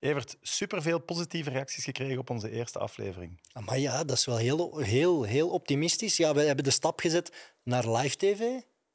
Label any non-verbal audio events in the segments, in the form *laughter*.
Evert, superveel positieve reacties gekregen op onze eerste aflevering. Maar ja, dat is wel heel, heel, heel optimistisch. Ja, we hebben de stap gezet naar live tv.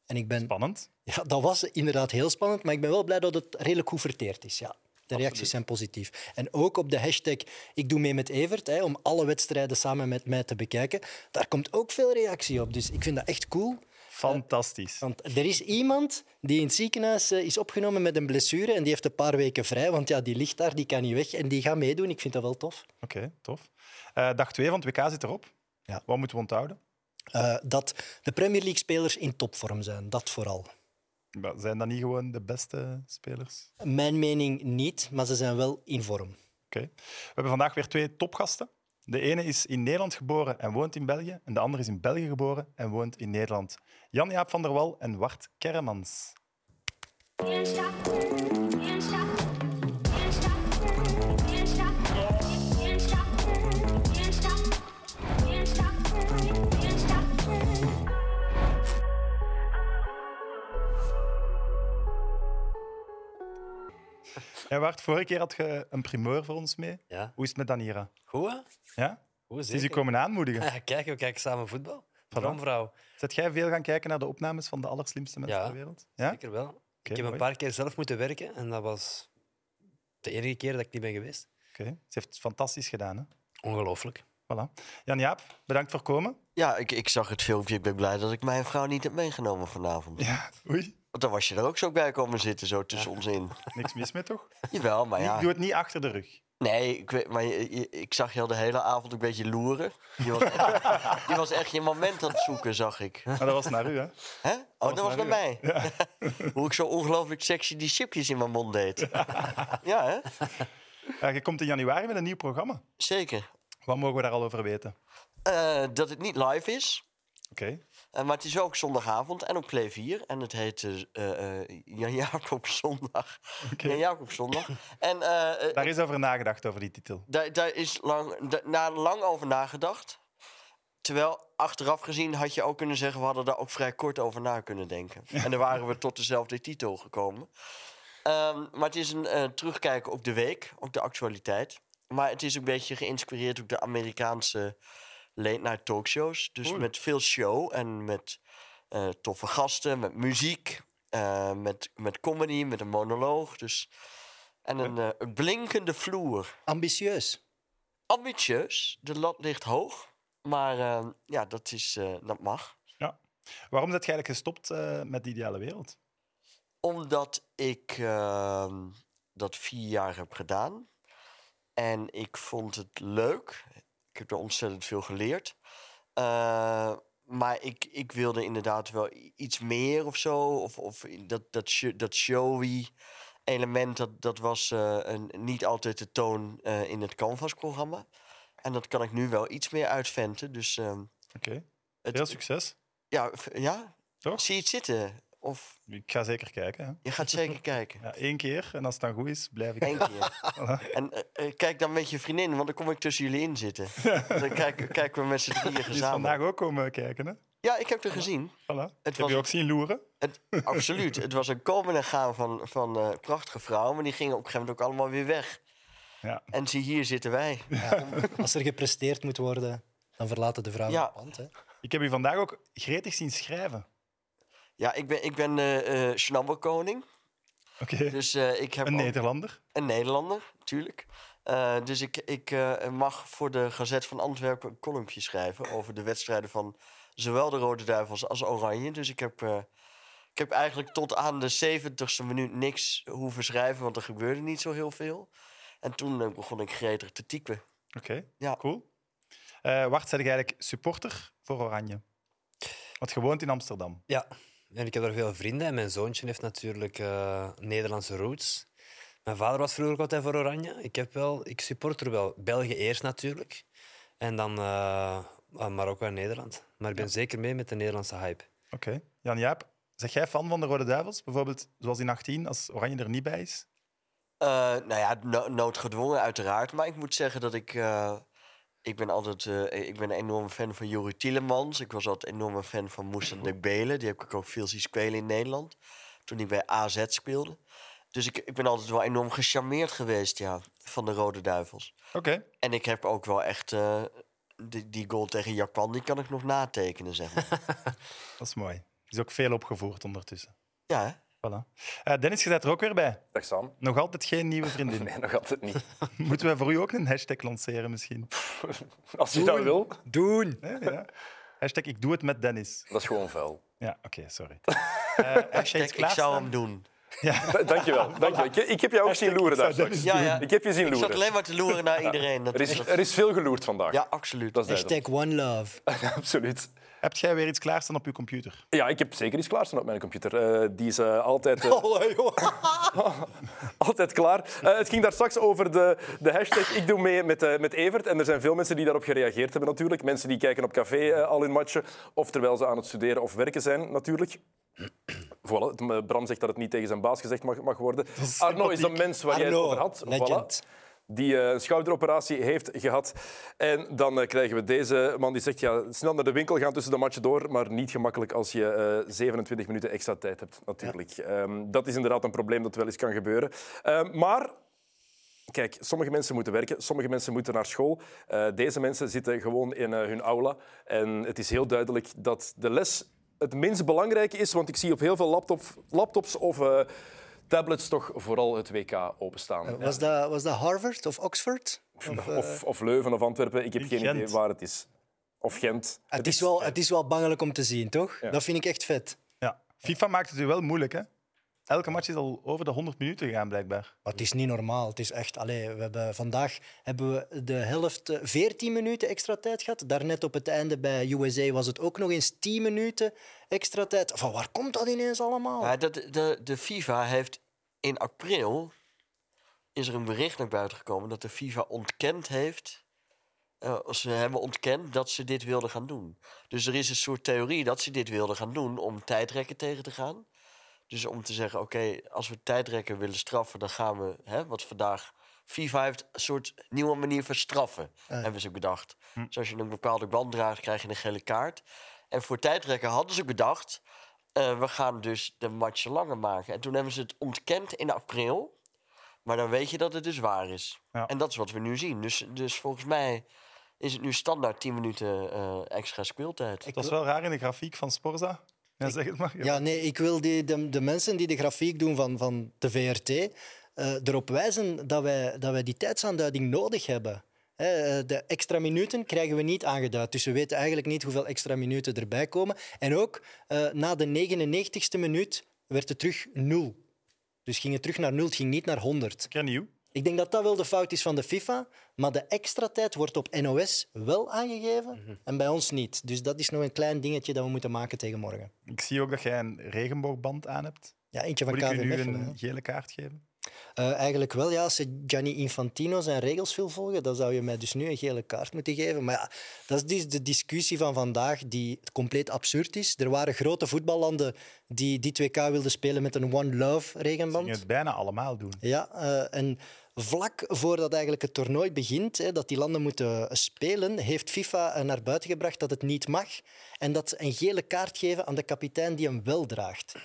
En ik ben, Spannend. ja, dat was inderdaad heel spannend, maar ik ben wel blij dat het redelijk goed verteerd is. Ja. De reacties zijn positief. En ook op de hashtag Ik doe mee met Evert, hè, om alle wedstrijden samen met mij te bekijken. Daar komt ook veel reactie op. Dus ik vind dat echt cool. Fantastisch. Want er is iemand die in het ziekenhuis eh, is opgenomen met een blessure en die heeft een paar weken vrij, want ja, die ligt daar, die kan niet weg en die gaat meedoen. Ik vind dat wel tof. Oké, tof. Eh, dag 2 van het WK zit erop. Ja. Wat moeten we onthouden? Eh, dat de Premier League-spelers in topvorm zijn, dat vooral. Maar Zijn dat niet gewoon de beste spelers? Mijn mening niet, maar ze zijn wel in vorm. Oké. We hebben vandaag weer twee topgasten. De ene is in Nederland geboren en woont in België. En de andere is in België geboren en woont in Nederland. Jan-Jaap van der Wal en Wart Kermans. Can't stop, can't stop, can't stop, can't stop, can't stop, can't stop, can't stop, can't stop. En Wart, vorige keer had je een primeur voor ons mee. Ja. Hoe is het met Danira? Goed, hè? Ja? Goed, Ze is je zeker. komen aanmoedigen. Ja, kijk, we kijken samen voetbal. Droomvrouw. Zet jij veel gaan kijken naar de opnames van de allerslimste mensen Ja. ter wereld? Ja? Zeker wel. ik heb mooi. een paar keer zelf moeten werken en dat was de enige keer dat ik niet ben geweest. Oké. Ze heeft het fantastisch gedaan. Hè? Ongelooflijk. Voilà. Jan-Jaap, bedankt voor komen. Ja, ik, ik zag het filmpje. Ik ben blij dat ik mijn vrouw niet heb meegenomen vanavond. Ja, oei. Want dan was je er ook zo bij komen zitten, zo tussen ons in. Niks mis mee, toch? Jawel, maar Niet- Doe Ah, ja. het niet achter de rug. Nee, ik, weet- maar je- je- ik zag je al de hele avond een beetje loeren. Je was *laughs* echt, je, was echt je moment aan het zoeken, zag ik. Maar dat was naar u, hè? Hè? Oh, dat was naar naar mij. *laughs* Hoe ik zo ongelooflijk sexy die chipjes in mijn *laughs* mond deed. Ja, hè? Eh, je komt in januari met een nieuw programma. Zeker. Wat mogen we daar al over weten? Eh, dat het niet live is. Oké. Eh, maar het is ook zondagavond en op Klevier. En het heet eh eh, eh, Jan Jacob *laughs* Zondag. Jan Jacob Zondag. en eh, eh, Daar is over nagedacht, over die titel. daar, daar is lang, da- na lang over nagedacht. Terwijl, achteraf gezien, had je ook kunnen zeggen... we hadden daar ook vrij kort over na kunnen denken. En dan waren we tot dezelfde titel gekomen. Ehm, maar het is een eh, terugkijken op de week, op de actualiteit. Maar het is een beetje geïnspireerd op de Amerikaanse late-night talkshows. Dus met veel show en met eh, toffe gasten, met muziek... eh, met, met comedy, met een monoloog. Dus. En een eh, een blinkende vloer Ambitieus. ambitieus. De lat ligt hoog. Maar eh, ja, dat, is, eh, dat mag. Ja. Waarom zit je eigenlijk gestopt eh, met de ideale wereld? Omdat ik eh, dat vier jaar heb gedaan. En ik vond het leuk. Ik heb er ontzettend veel geleerd. Eh, maar ik, ik wilde inderdaad wel i- iets meer of zo. Of, of in dat, dat, sho- dat showy element, dat, dat was eh, een, niet altijd de toon eh, in het Canvas-programma. En dat kan ik nu wel iets meer uitventen. Dus ehm, Oké. het, Veel succes. Ja, v- ja. Toch? Zie je het zitten? Of Ik ga zeker kijken. Hè. je gaat *laughs* zeker kijken. Ja, één keer, en als het dan goed is, blijf ik... *laughs* dus Eén keer. En eh, eh, kijk dan met je vriendin, want dan kom ik tussen jullie in zitten. *laughs* Dan kijken kijken we met z'n drieën Die is gezamenlijk. vandaag ook komen kijken, hè? Ja, ik heb er gezien. Voilà. Ik heb was- je ook zien loeren. Het, absoluut. Het was een komen en gaan van, van eh, prachtige vrouwen, maar die gingen op een gegeven moment ook allemaal weer weg. Ja. En zie, hier zitten wij. Als er gepresteerd moet worden, dan verlaten de vrouwen Ja. het pand. Hè. Ik heb u vandaag ook gretig zien schrijven. Ja, ik ben, ik ben eh, eh, schnabberkoning. Oké. Dus eh, ik heb Een ook- Nederlander. Een Nederlander, natuurlijk. Eh, dus ik, ik eh, mag voor de Gazet van Antwerpen een columnpje schrijven over de wedstrijden van zowel de Rode Duivels als Oranje. Dus ik heb, eh, ik heb eigenlijk tot aan de 70ste minuut niks hoeven schrijven, want er gebeurde niet zo heel veel. En toen eh, begon ik gretig te typen. Oké, Ja. cool. Eh Wart, ben je eigenlijk supporter voor Oranje? Want je woont in Amsterdam. Ja, en ik heb daar veel vrienden. En mijn zoontje heeft natuurlijk eh, Nederlandse roots. Mijn vader was vroeger ook altijd voor Oranje. Ik, heb wel, ik support er wel. België eerst natuurlijk. En dan eh, Marokko en Nederland. Maar ik ben zeker mee met de Nederlandse hype. Oké. Jan-Jaap, zeg jij fan van de Rode Duivels? Bijvoorbeeld zoals in 18, als Oranje er niet bij is? Eh, nou ja, no- noodgedwongen uiteraard. Maar ik moet zeggen dat ik... eh, ik ben altijd eh, ik ben een enorme fan van Juri Tielemans. Ik was altijd een enorme fan Mhm. van Moussa Dembele. Die heb ik ook veel zien spelen in Nederland. Toen hij bij AZ speelde. Dus ik, ik ben altijd wel enorm gecharmeerd geweest ja, van de Rode Duivels. Oké. En ik heb ook wel echt... eh, die, die goal tegen Japan, die kan ik nog natekenen, zeg *laughs* maar. Dat is mooi. Er is ook veel opgevoerd ondertussen. ja, hè? Voilà. Eh, Dennis, je bent er ook weer bij. Dag Sam. Nog altijd geen nieuwe *laughs* vriendin. *laughs* Nee, nog altijd niet. Moeten wij voor u ook een hashtag lanceren misschien? Als je dat wil, Doen. Nee, ja. Hashtag ik doe het met Dennis. dat is gewoon vuil. Ja, oké, *laughs* sorry. Eh, heb je iets Kijk, ik zou klaarstaan? hem *laughs* doen. Da- Dankjewel. dankjewel. Ik, ik heb jou ook zien loeren daar zou straks. Ja, ja. Ik heb je zien Ik zat loeren. alleen maar te loeren *laughs* naar iedereen. Dat Er is is, het. er is veel geloerd vandaag. Ja, absoluut. Dus Dat is Hashtag One *laughs* Love. duidelijk. *laughs* Absoluut. Hebt jij weer iets klaarstaan op je computer? Ja, ik heb zeker iets klaarstaan op mijn computer. Eh, die is eh, altijd... *laughs* eh, *laughs* Altijd klaar. Eh, het ging daar straks over de, de hashtag ik doe mee met, eh, met Evert. En er zijn veel mensen die daarop gereageerd hebben natuurlijk. Mensen die kijken op café eh, al hun matchen. Of terwijl ze aan het studeren of werken zijn natuurlijk. *clears throat* Voilà, het- eh, Bram zegt dat het niet tegen zijn baas gezegd mag, mag worden. Arno is een mens waar jij het Arno, over had. Voilà. legend. Die eh, een schouderoperatie heeft gehad. En dan eh, krijgen we deze man die zegt... Ja, snel naar de winkel gaan tussen de matchen door. Maar niet gemakkelijk als je eh, 27 minuten extra tijd hebt, natuurlijk. Ehm, dat is inderdaad een probleem dat wel eens kan gebeuren. Ehm, maar Kijk, sommige mensen moeten werken, sommige mensen moeten naar school. Eh, deze mensen zitten gewoon in eh, hun aula. En het is heel duidelijk dat de les het minst belangrijke is, want ik zie op heel veel laptop, laptops of eh, tablets toch vooral het WK openstaan. Was dat, was dat Harvard of Oxford? Of, eh, Of, of Leuven of Antwerpen, ik heb in geen Gent. idee waar het is. Of Gent. het, is wel, het is wel bangelijk om te zien, toch? Ja. Dat vind ik echt vet. Ja. FIFA maakt het u wel moeilijk, hè? Elke match is al over de 100 minuten gegaan, blijkbaar. Maar het is niet normaal. Het is echt, allee, we hebben, vandaag hebben we de helft eh, 14 minuten extra tijd gehad. Daarnet op het einde bij USA was het ook nog eens 10 minuten extra tijd. Van waar komt dat ineens allemaal? Ja, dat, de, de FIFA heeft in april is er een bericht naar buiten gekomen dat de FIFA ontkend heeft. eh, ze hebben ontkend dat ze dit wilden gaan doen. Dus er is een soort theorie dat ze dit wilden gaan doen om tijdrekken tegen te gaan. Dus om te zeggen, oké, als we tijdrekken willen straffen, dan gaan we, hè, wat vandaag. FIFA heeft een soort nieuwe manier van straffen, hebben ze bedacht. Dus als je een bepaalde band draagt, krijg je een gele kaart. En voor tijdrekken hadden ze bedacht, eh, we gaan dus de matchen langer maken. En toen hebben ze het ontkend in april. Maar dan weet je dat het dus waar is. Ja. En dat is wat we nu zien. Dus, dus volgens mij is het nu standaard 10 minuten eh, extra speeltijd. Dat is wel raar in de grafiek van Sporza. Ja, zeg het maar. Ja. Ja, nee, ik wil die, de, de mensen die de grafiek doen van, van de VRT eh, erop wijzen dat wij, dat wij die tijdsaanduiding nodig hebben. Hè, eh, de extra minuten krijgen we niet aangeduid. Dus we weten eigenlijk niet hoeveel extra minuten erbij komen. En ook eh, na de 99ste minuut werd het terug 0. Dus ging het terug naar 0, het ging niet naar 100. Keer nieuw. Ik denk dat dat wel de fout is van de FIFA, maar de extra tijd wordt op NOS wel aangegeven en bij ons niet. Dus dat is nog een klein dingetje dat we moeten maken tegen morgen. Ik zie ook dat jij een regenboogband aan hebt. Ja, eentje van Moet ik u KV nu Mechelen. hè. een gele kaart geven? Eh, eigenlijk wel, ja. Als je Gianni Infantino zijn regels wil volgen, dan zou je mij dus nu een gele kaart moeten geven. Maar ja, dat is dus de discussie van vandaag die compleet absurd is. Er waren grote voetballanden die dit WK wilden spelen met een One Love Je moet regenband. het bijna allemaal doen. Ja, eh, en vlak voordat eigenlijk het toernooi begint, hè, dat die landen moeten spelen, heeft FIFA eh, naar buiten gebracht dat het niet mag en dat ze een gele kaart geven aan de kapitein die hem wel draagt.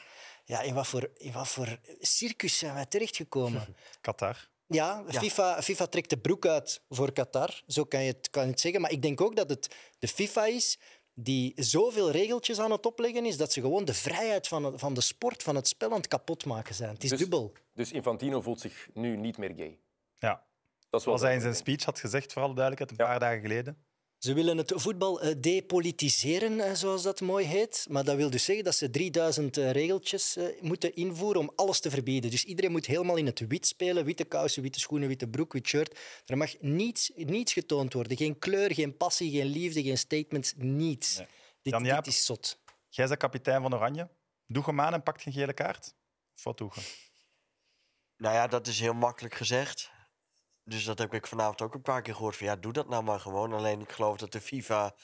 Ja, in wat voor, in wat voor circus zijn wij terechtgekomen? Qatar. Ja, FIFA, FIFA trekt de broek uit voor Qatar, zo kan je, het, kan je het zeggen. Maar ik denk ook dat het de FIFA is die zoveel regeltjes aan het opleggen is dat ze gewoon de vrijheid van, het- van de sport, van het spel aan het kapotmaken zijn. Het is Dus- dubbel. Dus Infantino voelt zich nu niet meer gay. Ja. Dat is wel Zoals hij in zijn speech had gezegd, voor alle duidelijkheid, een paar dagen geleden. Ze willen het voetbal eh, depolitiseren, eh, zoals dat mooi heet. Maar dat wil dus zeggen dat ze 3000 eh, regeltjes eh, moeten invoeren om alles te verbieden. Dus iedereen moet helemaal in het wit spelen. Witte kousen, witte schoenen, witte broek, wit shirt. Er mag niets, niets getoond worden. Geen kleur, geen passie, geen liefde, geen statements, niets. Dit, Dan Jaap? dit is zot. Jij bent kapitein van Oranje. Doe hem aan en pakt geen gele kaart. Of wat doe je? Nou ja, dat is heel makkelijk gezegd. Dus dat heb ik vanavond ook een paar keer gehoord. Van ja, doe dat nou maar gewoon. Alleen ik geloof dat de FIFA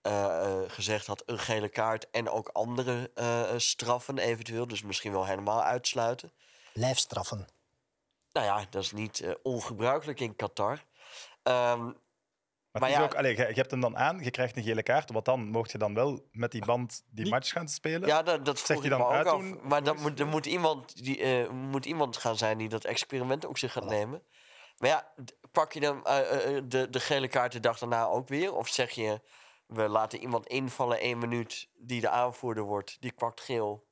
eh, eh, gezegd had: een gele kaart en ook andere eh, eh, straffen eventueel. Dus misschien wel helemaal uitsluiten. Lijfstraffen. Nou ja, dat is niet eh, ongebruikelijk in Qatar. Ehm, Maar, het Maar is ja- ook, allee, je, je hebt hem dan aan, je krijgt een gele kaart. Wat dan? Mocht je dan wel met die band die Niet- match gaan spelen? Ja, dat, dat Zegt vroeg ik hij me dan ook af. uitdoen, Maar dat moet, er moet iemand, die, eh, moet iemand gaan zijn die dat experiment op zich gaat nemen. Maar ja, d- pak je dan eh, eh, de, de gele kaart de dag daarna ook weer? Of zeg je, we laten iemand invallen één minuut die de aanvoerder wordt. Die pakt geel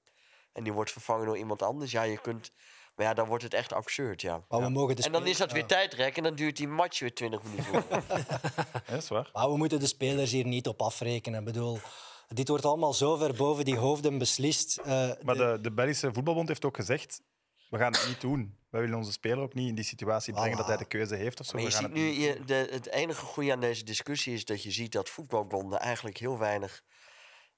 en die wordt vervangen door iemand anders. Ja, je kunt... Maar ja, dan wordt het echt absurd, ja. Maar we mogen de En dan spelers- is dat weer tijdrek en dan duurt die match weer 20 *laughs* minuten. Ja, is waar. Maar we moeten de spelers hier niet op afrekenen. Ik bedoel, dit wordt allemaal zo ver boven die hoofden beslist. Eh, Maar de, de Belgische voetbalbond heeft ook gezegd, we gaan het niet doen. Wij willen onze speler ook niet in die situatie brengen dat hij de keuze heeft of zo. Maar je We gaan ziet het nu, niet doen. je, de, het enige goede aan deze discussie is dat je ziet dat voetbalbonden eigenlijk heel weinig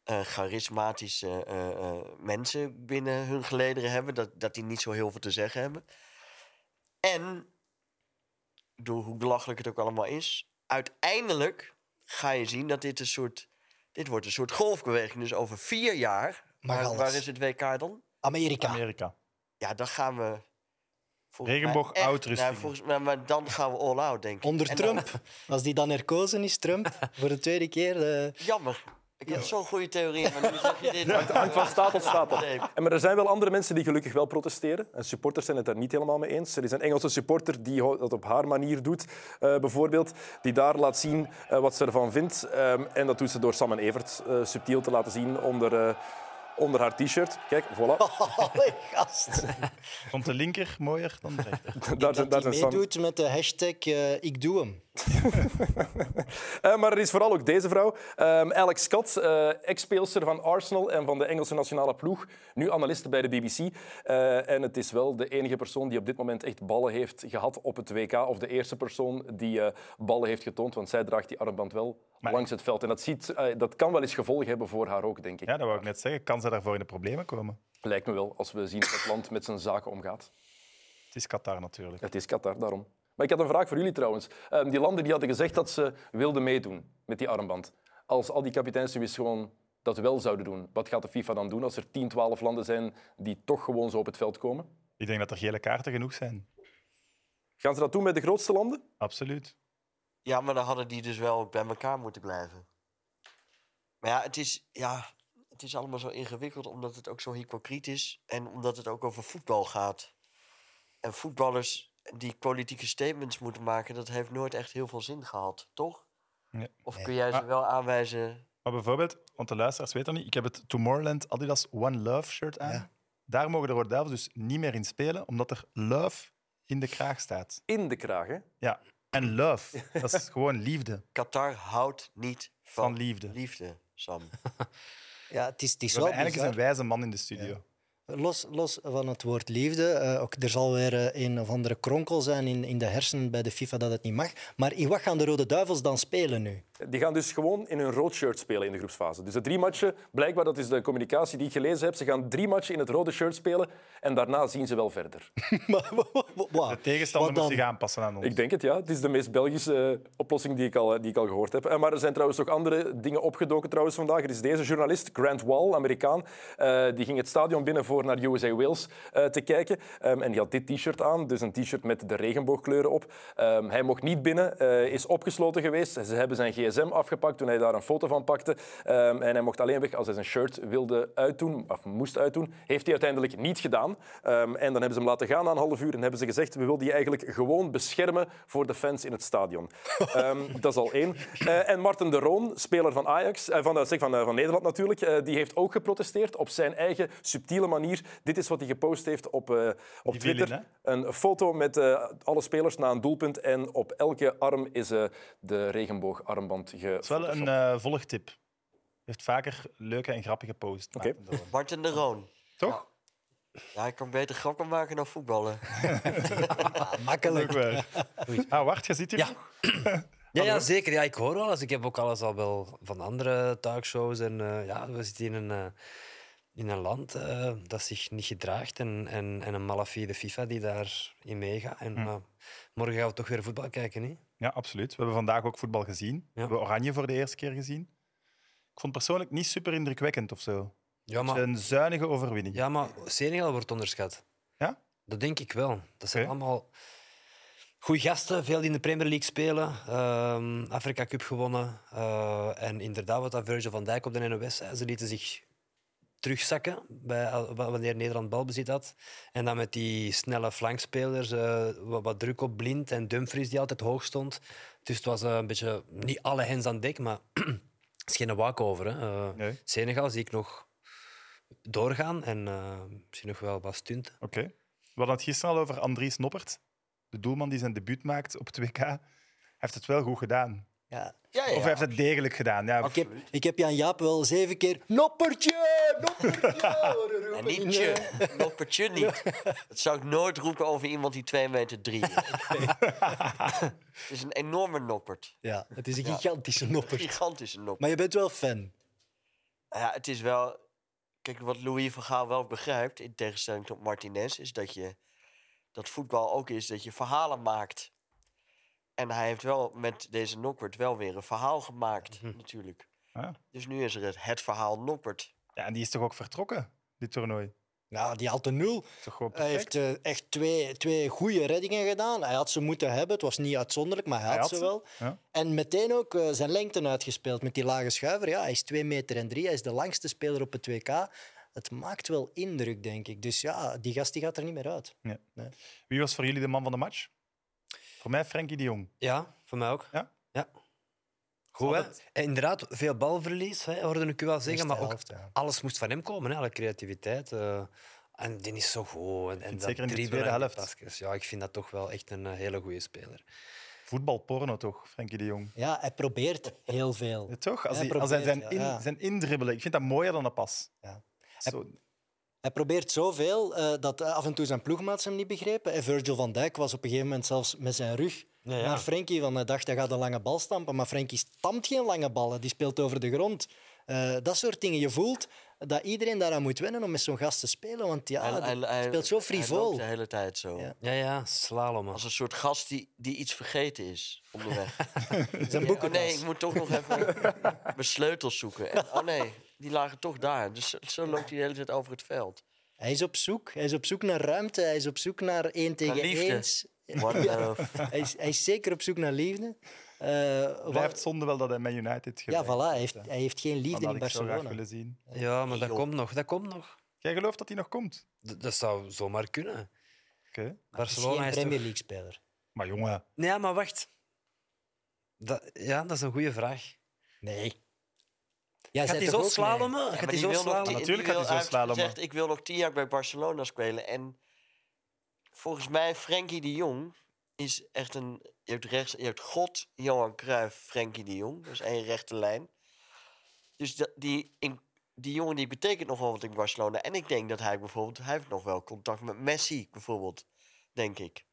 eh, charismatische eh, eh, mensen binnen hun gelederen hebben. Dat, dat die niet zo heel veel te zeggen hebben. En, door hoe belachelijk het ook allemaal is, uiteindelijk ga je zien dat dit een soort. Dit wordt een soort golfbeweging. Dus over vier jaar. Mag Waar, alles. waar is het WK dan? Amerika. Amerika. Ja, dan gaan we. volgens mij Regenboog echt- uitrusting. Nou, volgens mij, maar dan gaan we all out, denk ik. Onder En dan- Trump. *laughs* Als die dan herkozen is, Trump, voor de tweede keer. eh, Jammer. Ik had zo'n goede theorie, maar nu zeg *laughs* je dit. Het hangt van staat tot staat op. Nee. En maar er zijn wel andere mensen die gelukkig wel protesteren. En supporters zijn het daar niet helemaal mee eens. Er is een Engelse supporter die ho- dat op haar manier doet, eh, bijvoorbeeld. Die daar laat zien eh, wat ze ervan vindt. Ehm, en dat doet ze door Sam en Evert eh, subtiel te laten zien onder, eh, onder haar t-shirt. Kijk, voilà. Allee, gast. Vond de linker mooier dan de rechter? daar zijn, daar Dat zijn hij Sam. meedoet met de hashtag eh, ik doe hem. Eh, maar er is vooral ook deze vrouw. Ehm, Alex Scott, eh, ex-speelster van Arsenal en van de Engelse nationale ploeg. Nu analiste bij de BBC. Eh, en het is wel de enige persoon die op dit moment echt ballen heeft gehad op het WK. Of de eerste persoon die eh, ballen heeft getoond. Want zij draagt die armband wel langs het veld. En dat, ziet, eh, dat kan wel eens gevolgen hebben voor haar ook, denk ik. Ja, dat wou ik net zeggen. Kan ze daarvoor in de problemen komen? Lijkt me wel, als we zien hoe het land met zijn zaken omgaat. Het is Qatar natuurlijk. Het is Qatar, daarom. Maar ik had een vraag voor jullie trouwens. Ehm, die landen die hadden gezegd dat ze wilden meedoen met die armband. Als al die kapiteins nu eens gewoon dat wel zouden doen, wat gaat de FIFA dan doen als er 10, 12 landen zijn die toch gewoon zo op het veld komen? Ik denk dat er gele kaarten genoeg zijn. Gaan ze dat doen met de grootste landen? Absoluut. Ja, maar dan hadden die dus wel bij elkaar moeten blijven. Maar ja het, is, ja, het is allemaal zo ingewikkeld omdat het ook zo hypocriet is. En omdat het ook over voetbal gaat. En voetballers die politieke statements moeten maken, dat heeft nooit echt heel veel zin gehad, toch? Ja. Of kun jij ze Maar- wel aanwijzen? Maar bijvoorbeeld, want de luisteraars weten dat niet, ik heb het Tomorrowland Adidas One Love shirt aan. Ja. Daar mogen de Rode Duivels dus niet meer in spelen, omdat er love in de kraag staat. In de kraag, hè? Ja. En love, dat *laughs* is gewoon liefde. Qatar houdt niet van, Van liefde. liefde, Sam. Ja, het is, het is We wel hebben eigenlijk eens bizar. een wijze man in de studio. Los, los van het woord liefde, eh, ook, er zal weer eh, een of andere kronkel zijn in, in de hersenen bij de FIFA dat het niet mag. Maar in wat gaan de Rode Duivels dan spelen nu? *laughs* Die gaan dus gewoon in hun rood shirt spelen in de groepsfase. Dus de drie matchen, blijkbaar, dat is de communicatie die ik gelezen heb, ze gaan drie matchen in het rode shirt spelen en daarna zien ze wel verder. Maar wa- wa- wa- wa- De tegenstander wat dan? moet zich aanpassen aan ons. Ik denk het, ja. Het is de meest Belgische eh, oplossing die ik, al, eh, die ik al gehoord heb. Eh, Maar er zijn trouwens ook andere dingen opgedoken trouwens vandaag. Er is deze journalist, Grant Wall, Amerikaan. eh, die ging het stadion binnen voor naar USA Wales eh, te kijken. Ehm, en die had dit t-shirt aan, dus een t-shirt met de regenboogkleuren op. Ehm, hij mocht niet binnen, eh, is opgesloten geweest. Ze hebben zijn gsm afgepakt toen hij daar een foto van pakte. Ehm, en hij mocht alleen weg als hij zijn shirt wilde uitdoen, of moest uitdoen. Heeft hij uiteindelijk niet gedaan. Ehm, en dan hebben ze hem laten gaan na een half uur en hebben ze gezegd, we wilden je eigenlijk gewoon beschermen voor de fans in het *laughs* stadion. Ehm, dat is al één. Eh, en Martin de Roon, speler van Ajax, eh, van, eh, zeg, van, eh, van Nederland natuurlijk, eh, die heeft ook geprotesteerd op zijn eigen subtiele manier. Dit is wat hij gepost heeft op, eh, op Die viel Twitter. in, Een foto met eh, alle spelers na een doelpunt. En op elke arm is eh, de regenboogarmband ge. Het is wel een eh, volgtip. Heeft vaker leuke en grappige posts. Oké. Maarten de Roon. Martin de Roon. Toch? Ja, ik kan beter grappen maken dan voetballen. Leuk Makkelijk. weer. *laughs* Ah, wacht, je zit hier nog? Ja, ja zeker. Ja, ik hoor wel eens. Ik heb ook alles al wel van andere talkshows. En eh, ja, we zitten in een, eh, in een land eh, dat zich niet gedraagt. En, en, en een malafide FIFA die daarin meegaat. En, eh, morgen gaan we toch weer voetbal kijken, hè? Ja, absoluut. We hebben vandaag ook voetbal gezien. We hebben Oranje voor de eerste keer gezien. Ik vond het persoonlijk niet super indrukwekkend of zo. Ja, Het is maar, Een zuinige overwinning. ja, maar Senegal wordt onderschat. Ja? Dat denk ik wel. Dat zijn Oké. allemaal... Goeie gasten, veel die in de Premier League spelen. ehm, Afrika Cup gewonnen. eh, en inderdaad, wat dat Virgil van Dijk op de NOS zei, ze lieten zich terugzakken bij, al- wa- wanneer Nederland balbezit had. En dan met die snelle flankspelers, eh, wat, wat druk op Blind en Dumfries die altijd hoog stond. Dus het was eh, een beetje, niet alle hens aan dek, maar *clears throat* het is geen walkover. Hè. Eh, Nee. Senegal zie ik nog doorgaan en eh, misschien nog wel wat stunten. Oké. We hadden het gisteren al over Andries Noppert, de doelman die zijn debuut maakt op 2K. Hij heeft het wel goed gedaan. Ja. Ja, ja. Of hij heeft het degelijk gedaan. Ja, Ik, heb, ik heb Jan Jaap wel zeven keer noppertje, noppertje horen roepen. En niet je. Noppertje niet. Dat zou ik nooit roepen over iemand die 2 meter 3 is. *laughs* Het is een enorme noppert. Ja, het is een gigantische noppert. Gigantische noppert. Maar je bent wel fan. Ja, het is wel... Kijk, wat Louis van Gaal wel begrijpt, in tegenstelling tot Martinez, is dat je... Dat voetbal ook is dat je verhalen maakt. En hij heeft wel met deze noppert wel weer een verhaal gemaakt, Mhm. natuurlijk. Ja. Dus nu is er het, het verhaal noppert. ja, en die is toch ook vertrokken, dit toernooi? Nou, die had de nul. Toch gewoon Hij perfect? heeft eh, echt twee, twee goede reddingen gedaan. Hij had ze moeten hebben. Het was niet uitzonderlijk, maar hij, had, ze wel. ja. En meteen ook eh, zijn lengte uitgespeeld met die lage schuiver. Ja, hij is 2 meter en drie. Hij is de langste speler op het 2K. Het maakt wel indruk, denk ik. Dus ja, die gast die gaat er niet meer uit. Wie was voor jullie de man van de match? Voor mij Frenkie de Jong. Ja, voor mij ook. Ja? ja. Goed, hè? Altijd. En inderdaad, veel balverlies, hè, hoorde ik u wel zeggen. Eerste Maar ook helft, ja. alles moest van hem komen, hè, alle creativiteit. eh, en die is zo goed. En, en dat zeker in de dribbelen tweede en die helft. pasjes. Ja, ik vind dat toch wel echt een eh, hele goede speler. Voetbalporno toch, Frenkie de Jong? Ja, hij probeert heel veel. Ja, toch? Als Hij hij, als hij zijn, probeert, in, ja. Ja. zijn indribbelen. Ik vind dat mooier dan een pas. Ja. Zo, Hij probeert zoveel eh, dat af en toe zijn ploegmaats hem niet begrepen. En Virgil van Dijk was op een gegeven moment zelfs met zijn rug Ja, ja. naar Frenkie. Want hij dacht, hij gaat een lange bal stampen. Maar Frenkie stampt geen lange ballen, die speelt over de grond. Eh, dat soort dingen. Je voelt dat iedereen daaraan moet wennen om met zo'n gast te spelen. Want ja, Hij- hij, hij- hij- speelt zo Hij frivol. loopt de hele tijd zo. Ja. Ja, ja, slalom. Als een soort gast die, die iets vergeten is op de weg. Zijn Oh boeken nee, ik moet toch nog even mijn sleutels zoeken. En, oh nee, die lagen toch daar. Dus zo, zo loopt hij de hele tijd over het veld. Hij is op zoek. Hij is op zoek naar ruimte. Hij is op zoek naar één tegen liefde. één. *laughs* What love. Hij is, hij is zeker op zoek naar liefde. Eh, wat- blijft zonde wel dat hij met United ja, gebleven voilà. is, Hij heeft, hè. hij heeft geen Want liefde dat in had ik zo graag Barcelona. willen zien. Ja, maar dat joh. komt nog. Dat komt nog. Jij gelooft dat hij nog komt? D- dat zou zomaar kunnen. Oké. Barcelona geen is toch- Premier League speler. Maar jongen, Nee, maar wacht. Dat, ja, dat is een goede vraag. Nee. Ja, Gaat hij zo slalomen? Gaat hij die zo wil nog slalomen? tien- Natuurlijk gaat hij die wil- zo heeft slalommen. gezegd, ik wil nog tien jaar bij Barcelona spelen. En volgens mij, Frenkie de Jong is echt een... Je hebt, rechts, je hebt God, Johan Cruijff, Frenkie de Jong. Dat is één rechte lijn. Dus dat, die, in, die jongen die betekent nog wel wat in Barcelona. En ik denk dat hij bijvoorbeeld... Hij heeft nog wel contact met Messi, bijvoorbeeld. Denk ik.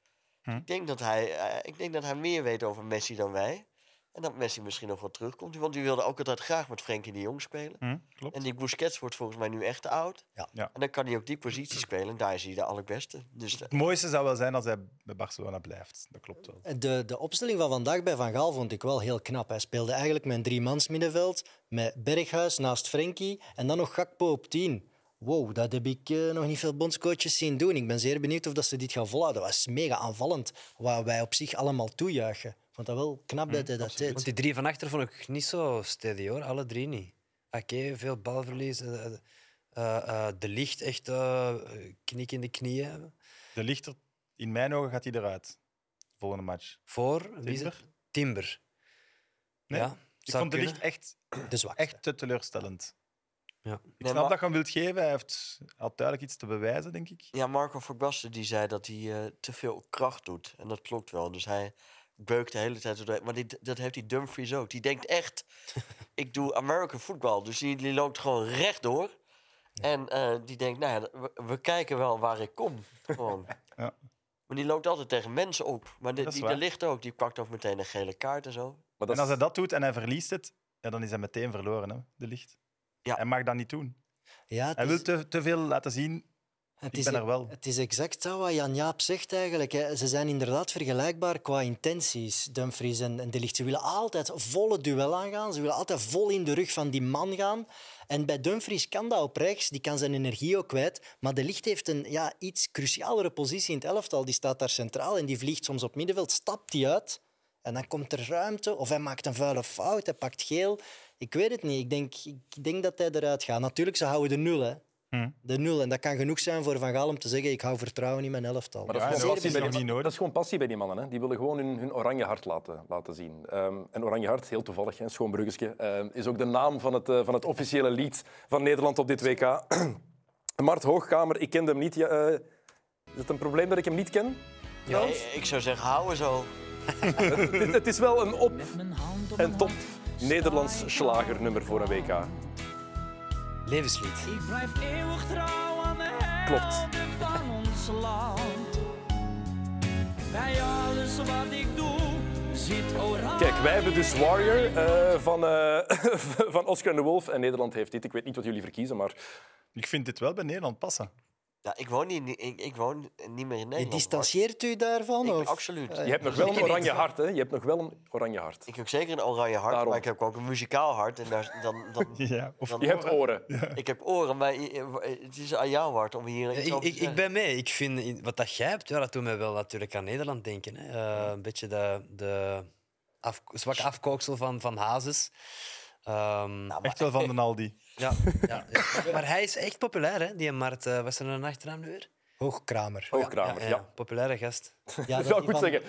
Hm. Ik, denk dat hij, eh, ik denk dat hij meer weet over Messi dan wij. En dat Messi misschien nog wel terugkomt. Want die wilde ook altijd graag met Frenkie de Jong spelen. hm, klopt. En die Busquets wordt volgens mij nu echt te oud. Ja. Ja. En dan kan hij ook die positie spelen. En daar is hij de allerbeste. Dus de- Het mooiste zou wel zijn als hij bij Barcelona blijft. Dat klopt wel. De, de opstelling van vandaag bij Van Gaal vond ik wel heel knap. Hij speelde eigenlijk met een driemans middenveld, met Berghuis naast Frenkie en dan nog Gakpo op 10. Wow, dat heb ik eh, nog niet veel bondscoaches zien doen. Ik ben zeer benieuwd of dat ze dit gaan volhouden. Dat was mega aanvallend, wat wij op zich allemaal toejuichen. Ik vond dat wel Hmm, knap dat hij dat Want deed. die drie van achter vond ik niet zo steady hoor, alle drie niet. Oké, veel balverlies. eh, eh, eh, eh, de licht echt eh, knik in de knieën. De lichter, in mijn ogen gaat hij eruit. Volgende match. Voor wie is het? Timber? Timber. Nee, Ja, Ik zou vond de kunnen. licht echt, De zwakste. echt te teleurstellend. Ja. Ik Nee, snap maar- dat je hem wilt geven. Hij heeft, had duidelijk iets te bewijzen, denk ik. ja, Marco Verbasten die zei dat hij eh, te veel kracht doet. En dat klopt wel. Dus hij beukt de hele tijd. doorheen. Maar die, dat heeft die Dumfries ook. Die denkt *laughs* echt, ik doe American football. Dus die, die loopt gewoon rechtdoor. En eh, die denkt, nou ja, we, we kijken wel waar ik kom. Gewoon. *laughs* Ja. Maar die loopt altijd tegen mensen op. Maar de, Dat is die waar. de licht ook, die pakt ook meteen een gele kaart en zo. Maar dat en als is- hij dat doet en hij verliest het, ja, dan is hij meteen verloren, hè, de licht. Ja. Dus- Hij mag dat niet doen. Ja, het Hij is- wil te, te veel laten zien Het Ik ben er wel. Het is exact zo wat Jan-Jaap zegt eigenlijk. Hè. Ze zijn inderdaad vergelijkbaar qua intenties, Dumfries en, en De Ligt. Ze willen altijd volle duel aangaan. Ze willen altijd vol in de rug van die man gaan. En bij Dumfries kan dat op rechts. Die kan zijn energie ook kwijt. Maar De Ligt heeft een ja, iets crucialere positie in het elftal. Die staat daar centraal en die vliegt soms op middenveld. Stapt die uit en dan komt er ruimte. Of hij maakt een vuile fout, hij pakt geel. Ik weet het niet. Ik denk, ik denk dat hij eruit gaat. Natuurlijk, ze houden de nul, hè. De nul. En dat kan genoeg zijn voor Van Gaal om te zeggen: ik hou vertrouwen in mijn elftal. Maar dat is Ja, gewoon en passie dat is bij nog die- niet nodig. Dat is gewoon passie bij die mannen. Hè. Die willen gewoon hun, hun oranje hart laten, laten zien. Ehm, en oranje hart, heel toevallig, hè, een schoon bruggetje, ehm, is ook de naam van het, eh, van het officiële lied van Nederland op dit WK. *clears throat* Mart Hoogkamer, ik kende hem niet. Ja, eh, is het een probleem dat ik hem niet ken? Nee, ik zou zeggen, hou er zo. *laughs* het, het is wel een op en top Nederlands slagernummer voor een WK. Levenslied. Ik blijf eeuwig trouw aan de Klopt. helden van ons land. Bij alles wat ik doe, zit oranje. Kijk, wij hebben dus Warrior eh, van, eh, *laughs* van Oscar de Wolf. En Nederland heeft dit. Ik weet niet wat jullie verkiezen, maar Ik vind dit wel bij Nederland *laughs* passen. Ja, ik, woon niet, ik, ik woon niet meer in Nederland. Je maar distancieert u daarvan? ik- of? absoluut. Eh, je hebt nog wel een oranje hart. Hè? Je hebt nog wel een oranje hart. Ik heb zeker een oranje hart, Daarom. maar ik heb ook een muzikaal hart. En daar, dan, dan, *laughs* Ja, of dan- Je hebt oren. Ik heb oren, maar je- het is aan jou hart om hier iets ik, over te ik, ik zeggen. ben mee. Ik vind in- wat dat jij hebt, ja, dat doet mij wel natuurlijk aan Nederland denken. Hè. Eh, een beetje de, de af, zwakke afkooksel van, van Hazes. Ehm, Echt wel van de Aldi. ja, ja, ja. Maar hij is echt populair, hè? die Mart. eh, was er een achternaam nu weer? Eh, Hoogkramer. Hoogkramer, Oh ja. Populaire gast. Ja, Ik zou die goed van- zeggen,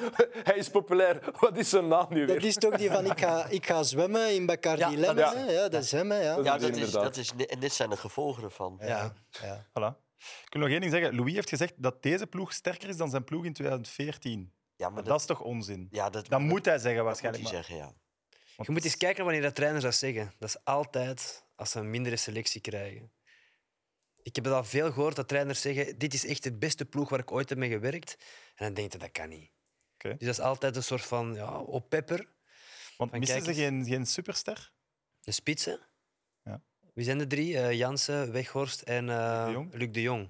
*laughs* hij is populair. Wat is zijn naam nu Dat weer? is toch die van ik ga, ik ga zwemmen in Bacardi Ja, dat Lemon. is- hè? Ja, dat is hem. hè, Ja. Ja, Dat is dat is, inderdaad. dat is, en dit zijn de gevolgen ervan. Ja, ja. Voilà. Ik wil nog één ding zeggen. Louis heeft gezegd dat deze ploeg sterker is dan zijn ploeg in 2014. Ja, Maar maar dat dat, is toch onzin? ja, dat, Dat moet hij zeggen dat moet waarschijnlijk. hij maar- zeggen, ja. Je moet eens kijken wanneer dat trainers dat zeggen. Dat is altijd als ze een mindere selectie krijgen. Ik heb het al veel gehoord dat trainers zeggen: Dit is echt de beste ploeg waar ik ooit heb mee gewerkt. En dan denk je: Dat kan niet. Oké. Dus dat is altijd een soort van ja, oppepper. Want Van missen ze kijk geen, geen superster? De spitsen. Ja. Wie zijn de drie? Eh, Jansen, Weghorst en eh, de Jong. Luc de Jong.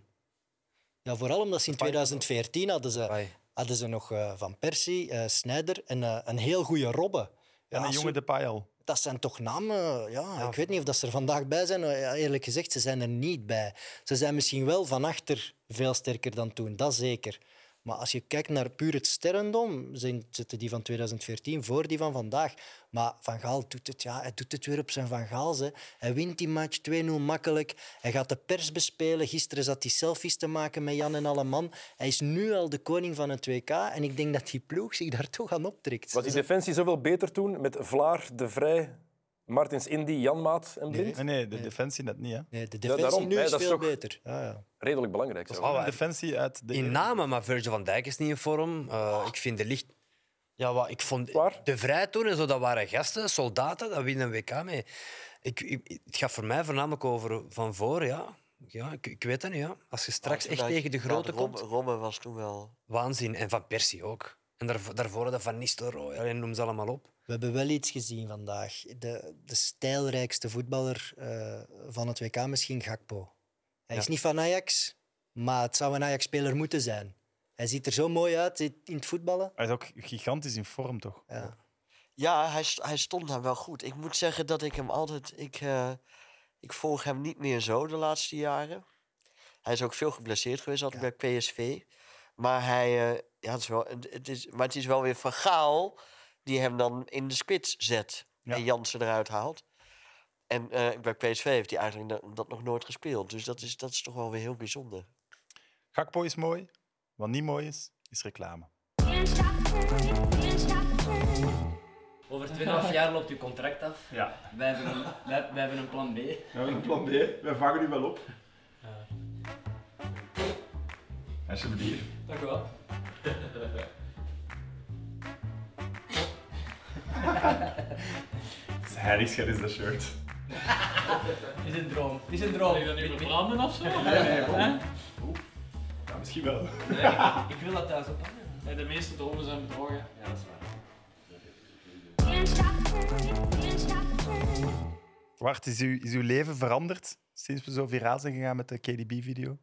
ja, vooral omdat ze in 2014 hadden ze, Ai. hadden ze nog eh, Van Persie, eh Snyder en eh, een heel goede Robben. en Ja, een jonge zo- de Payal. dat zijn toch namen. Ja, ik weet niet of dat ze er vandaag bij zijn. Eh, ja, Eerlijk gezegd, ze zijn er niet bij. Ze zijn misschien wel van achter veel sterker dan toen, dat zeker. Maar als je kijkt naar puur het sterrendom, zijn- zitten die van 2014 voor die van vandaag. Maar Van Gaal doet het, ja, hij doet het weer op zijn Van Gaals. Hè. Hij wint die match 2-0 makkelijk. Hij gaat de pers bespelen. Gisteren zat hij selfies te maken met Jan en Alleman. Hij is nu al de koning van het WK. En ik denk dat die ploeg zich daar toch aan optrekt. Was die defensie zoveel beter toen met Vlaar, De Vrij, Martins Indy, Janmaat en Blind? Nee, nee, de defensie net niet. Hè. Nee, de Ja, defensie daarom. nu Nee, is dat is veel toch- beter. Ja, ja. Redelijk belangrijk. zo. De defensie uit de... E In namen, maar Virgil van Dijk is niet in vorm. Eh, Ah. Ik vind de licht. Ja, wat ik vond. Waar? De Vrij toen en zo, dat waren gasten, soldaten, dat winnen een WK mee. Ik, ik- het gaat voor mij voornamelijk over van voor, ja. Ja, ik, ik weet dat niet. Ja. Als je straks echt Nou, tegen de ja, grote Robben- komt, Robben was toen wel... waanzin. En van Persie ook. En daar, daarvoor dat van Nistelrooy, alleen noem ze allemaal op. We hebben wel iets gezien vandaag. De, de stijlrijkste voetballer eh, van het WK misschien Gakpo. Hij Ja. is niet van Ajax, maar het zou een Ajax-speler moeten zijn. Hij ziet er zo mooi uit in in het voetballen. Hij is ook gigantisch in vorm, toch? Ja. Ja, hij, st- hij stond daar wel goed. Ik moet zeggen dat ik hem altijd... Ik, eh, ik volg hem niet meer zo de laatste jaren. Hij is ook veel geblesseerd geweest, altijd bij PSV. Maar hij... eh, ja, het is wel, het het is, maar het is wel weer Van Gaal die hem dan in de spits zet. Ja. En Jansen eruit haalt. En eh, bij PSV heeft hij eigenlijk dat, dat nog nooit gespeeld. Dus dat is, dat is toch wel weer heel bijzonder. Gakpo is mooi. Wat niet mooi is, is reclame. Over 2,5 jaar loopt uw contract af. Ja. Wij hebben een, wij, wij hebben een plan B. We hebben een plan B. We vangen u wel op. Alsjeblieft. Dank u *laughs* wel. Het is heiligschat is dat shirt. Het is een droom. Het is een droom. Branden of zo? Ja, misschien wel. Ik wil dat thuis oppakken. Nee, de meeste dromen zijn bedrogen. Ja, dat is waar. Wart, is, uw- is uw leven veranderd sinds we zo viraal zijn gegaan met de KDB-video?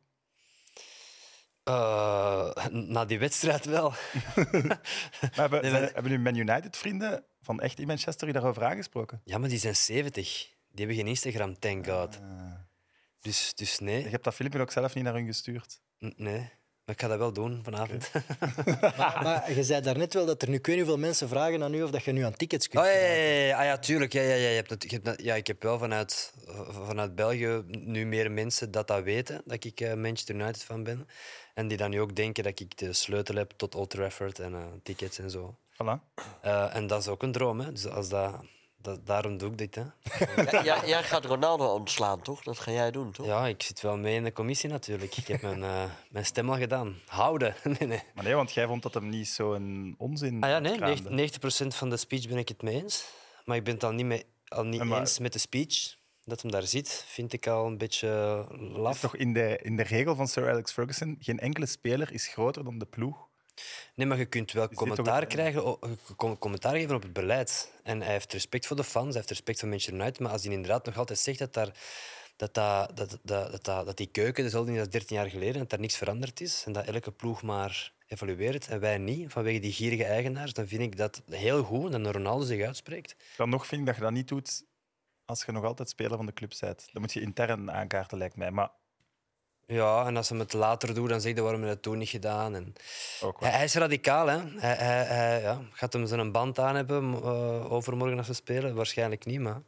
Eh, na die wedstrijd *laughs* wel. Maar hebben, Nee, zijn- maar- hebben nu Man United-vrienden van echt in Manchester die daarover aangesproken? Ja, maar die zijn 70. Die hebben geen Instagram, thank god. Dus, dus Je nee. hebt dat filmpje ook zelf niet naar hun gestuurd. N- nee. Maar ik ga dat wel doen vanavond. Ah. Maar je zei daarnet wel dat er nu ik weet niet hoeveel mensen vragen aan u of dat je nu aan tickets kunt. *laughs* Oh ja, ja, ja, ja. Ah, ja tuurlijk. Ja, ja, ja. Je hebt nat- je hebt nat- ja, ik heb wel vanuit, v- vanuit België nu meer mensen dat dat weten, dat ik eh, Manchester United fan ben. En die dan nu ook denken dat ik de sleutel heb tot Old Trafford en eh, tickets en zo. Voilà. Eh, en dat is ook een droom, hè. Dus als dat, dat, daarom doe ik dit, hè. Ja, *laughs* jij- jij gaat Ronaldo ontslaan, toch? Dat ga jij doen, toch? Ja, ik zit wel mee in de commissie natuurlijk. Ik heb mijn, eh, mijn stem al gedaan. Houden. *laughs* nee, nee. Maar nee, want jij vond dat hem niet zo'n onzin Ah ja, nee, kraamde. negen- 90% van de speech ben ik het mee eens. Maar ik ben het al niet, mee, al niet Maar- eens met de speech. Dat hem daar zit, vind ik al een beetje eh, Is laf. toch in de, in de regel van Sir Alex Ferguson, geen enkele speler is groter dan de ploeg. Nee, maar je kunt wel dit toch commentaar het- krijgen, o- je kon commentaar geven op het beleid. En hij heeft respect voor de fans, hij heeft respect voor Manchester United. Maar als hij inderdaad nog altijd zegt dat, daar, dat, dat, dat, dat, dat, dat, dat die keuken, dezelfde is als 13 jaar geleden, en dat daar niks veranderd is en dat elke ploeg maar evalueert en wij niet, vanwege die gierige eigenaars, dan vind ik dat heel goed dat Ronaldo zich uitspreekt. Dan nog vind ik dat je dat niet doet als je nog altijd speler van de club bent. Dan moet je intern aankaarten, lijkt mij. Maar Ja, en als ze het later doen, dan zegt hij waarom hij dat toen niet gedaan. En... ook wel. Hij, hij is radicaal, hè. Hij, hij, hij ja, gaat hem zijn band aan hebben eh, overmorgen als ze spelen? Waarschijnlijk niet, maar...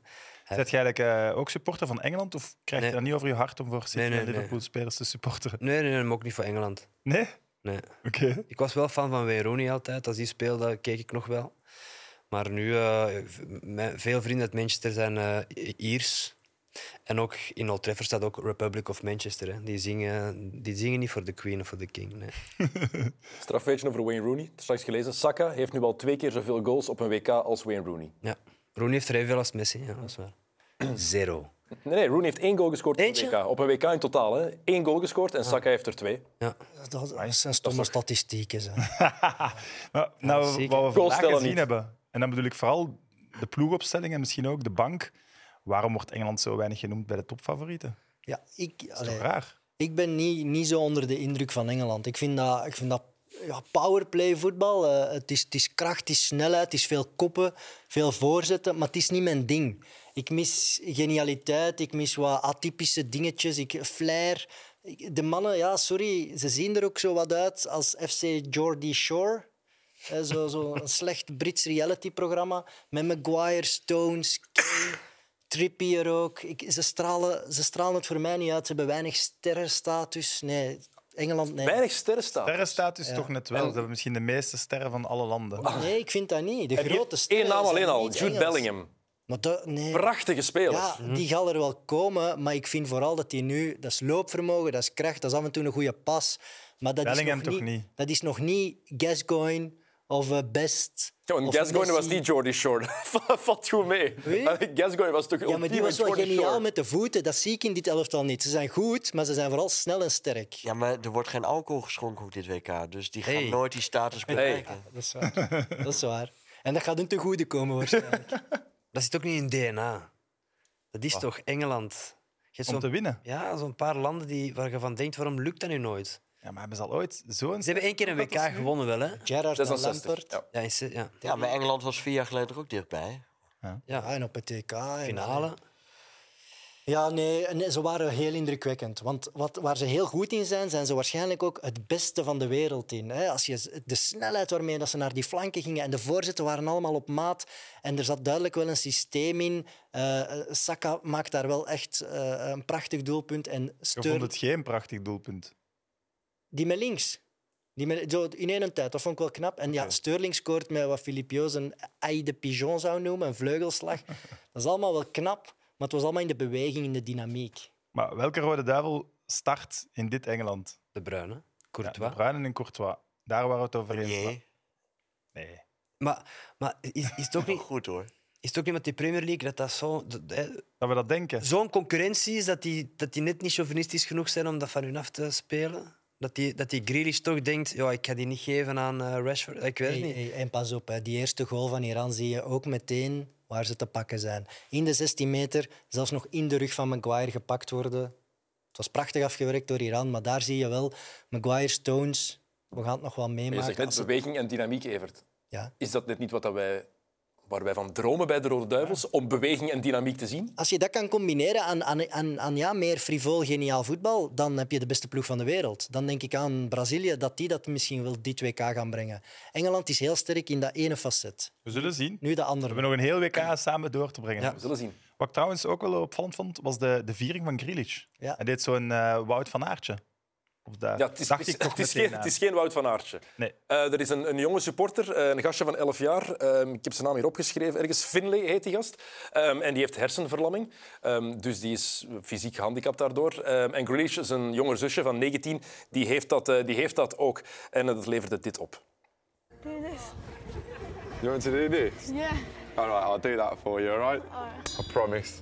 Zet jij eigenlijk, eh, ook supporter van Engeland? Of krijg je Nee. dat niet over je hart om voor City Nee, nee, en nee. Liverpool-spelers te supporteren? Nee, nee, nee, maar ook niet voor Engeland. Nee? Nee. Oké. Ik was wel fan van Wayne Rooney altijd. Als die speelde, keek ik nog wel. Maar nu, eh, v- mijn- veel vrienden uit Manchester zijn eh, Iers. En ook in Old Trafford staat ook Republic of Manchester. Hè. Die, zingen, die zingen niet voor de Queen of voor de King. Nee. Strafweetje over Wayne Rooney. Straks gelezen. Saka heeft nu al twee keer zoveel goals op een WK als Wayne Rooney. Ja. Rooney heeft er evenveel als Messi, ja, dat is waar. Zero. Nee, nee, Rooney heeft één goal gescoord Eentje? op een WK. Op een WK in totaal, hè. Eén goal gescoord en Saka heeft er twee. Dat, dat zijn *laughs* stomme statistieken. Zijn. Maar, nou, zeker. wat we vandaag stellen gezien niet. hebben, en dan bedoel ik vooral de ploegopstelling en misschien ook de bank. Waarom wordt Engeland zo weinig genoemd bij de topfavorieten? Ja, ik, Dat is allee, toch raar? ik ben niet, niet zo onder de indruk van Engeland. Ik vind dat, ik vind dat ja, powerplay voetbal. eh, het, is, het is kracht, het is snelheid, het is veel koppen, veel voorzetten, maar het is niet mijn ding. Ik mis genialiteit, ik mis wat atypische dingetjes, ik, flair. Ik- De mannen, ja, sorry, ze zien er ook zo wat uit als FC Geordie Shore. Hè, Eh, zo- Zo'n slecht Brits reality-programma met Maguire, Stones, Kane, Trippier ook. Ik, ze, stralen, ze stralen het voor mij niet uit. Ze hebben weinig sterrenstatus. Nee, Engeland, nee. Weinig sterren staan. Sterrenstatus toch net wel. Ze hebben misschien de meeste sterren van alle landen. Oh, Nee, ik vind dat niet. De grote sterren Eén naam zijn alleen al, niet Jude Engels. Bellingham. Hm. Maar dat, nee. Prachtige speler. Ja, die gaat er wel komen, maar ik vind vooral dat hij nu... Dat is loopvermogen, dat is kracht, dat is af en toe een goede pas. Maar dat Bellingham is nog toch niet, niet? Dat is nog niet Gascoigne of eh, Best. Ja, want of Gascoigne was Messi. niet Jordy Shore. *laughs* Valt goed mee. Wie? Gascoigne was toch Ja, maar die opnieuw was een wel Jordy geniaal Shore. met de voeten. Dat zie ik in dit elftal niet. Ze zijn goed, maar ze zijn vooral snel en sterk. Ja, maar er wordt geen alcohol geschonken op dit WK. Dus die gaan Hey. nooit die status bereiken. Dat is waar. dat is waar. En dat gaat hun te goede komen waarschijnlijk. Dat zit ook niet in DNA. Dat is toch Engeland? Je hebt Om te zo'n winnen. ja, zo'n paar landen die, waar je van denkt, waarom lukt dat nu nooit? Ja, maar hebben ze al ooit zo'n... Ze hebben één keer een WK gewonnen wel, hè? Gerrard en 66. Lampert. Ja. Ja, in, se- ja. Ja, maar Engeland was vier jaar geleden er ook dichtbij. Ja, en op het TK. finale. Ja, nee, en ze waren heel indrukwekkend. Want wat, waar ze heel goed in zijn, zijn ze waarschijnlijk ook het beste van de wereld in. Hè? Als je z- de snelheid waarmee dat ze naar die flanken gingen en de voorzetten waren allemaal op maat. En er zat duidelijk wel een systeem in. Eh, eh, Saka maakt daar wel echt eh, een prachtig doelpunt. En Je vond Sterling, het geen prachtig doelpunt. die met links. Die met, zo in één tijd, dat vond ik wel knap. En ja, Sterling scoort met wat Filipio's een ei de pigeon zou noemen, een vleugelslag. Dat is allemaal wel knap, maar het was allemaal in de beweging, in de dynamiek. Maar welke rode duivel start in dit Engeland? De Bruyne, Ja, Courtois. de Bruyne en Courtois. Daar waren we het over eens. Nee, Nee. maar maar is, is, het ook niet, goed hoor. is het ook niet met die Premier League dat dat zo- dat- hè, zo'n Dat we dat denken. concurrentie is dat die, dat die net niet chauvinistisch genoeg zijn om dat van hun af te spelen? Dat die, dat die Grealish toch denkt, ja, ik ga die niet geven aan eh, Rashford. Ik weet het Hey, niet. hey, en pas op, hè. die eerste goal van Iran zie je ook meteen waar ze te pakken zijn. In de 16 meter, zelfs nog in de rug van Maguire gepakt worden. Het Het was prachtig afgewerkt door Iran, maar daar zie je wel Maguire, Stones. We gaan het nog wel Je meemaken. zegt net als het- beweging en dynamiek, Evert. Ja. Is dat net niet wat dat wij, waar wij van dromen bij de Rode Duivels? Om beweging en dynamiek te zien? Als je dat kan combineren aan, aan, aan, aan ja, meer frivol, geniaal voetbal, dan heb je de beste ploeg van de wereld. Dan denk ik aan Brazilië, dat die dat misschien wel die 2K gaan brengen. Engeland is heel sterk in dat ene facet. We zullen zien. Nu de We andere. hebben nog een heel WK samen door te brengen. Ja. We zullen zien. Wat ik trouwens ook wel opvallend vond, was de, de viering van Grealish. Ja. Hij deed zo'n eh Wout van Aertje. Of daar Ja, het is, dacht het is- ik toch het is meteen geen, aan. het is geen Wout van Aertje. Nee. Eh, er is een, een jonge supporter, eh, een gastje van 11 jaar. Ehm, ik heb zijn naam hier opgeschreven. Ergens Finlay heet die gast. Ehm, en die heeft hersenverlamming. Ehm, dus die is fysiek gehandicapt daardoor. Ehm, en Grealish, zijn jonger zusje van 19, die heeft dat, eh, die heeft dat ook. En eh, dat leverde dit op. You want to do this? Yeah. All right, I'll do that for you, all right? All right. I promise.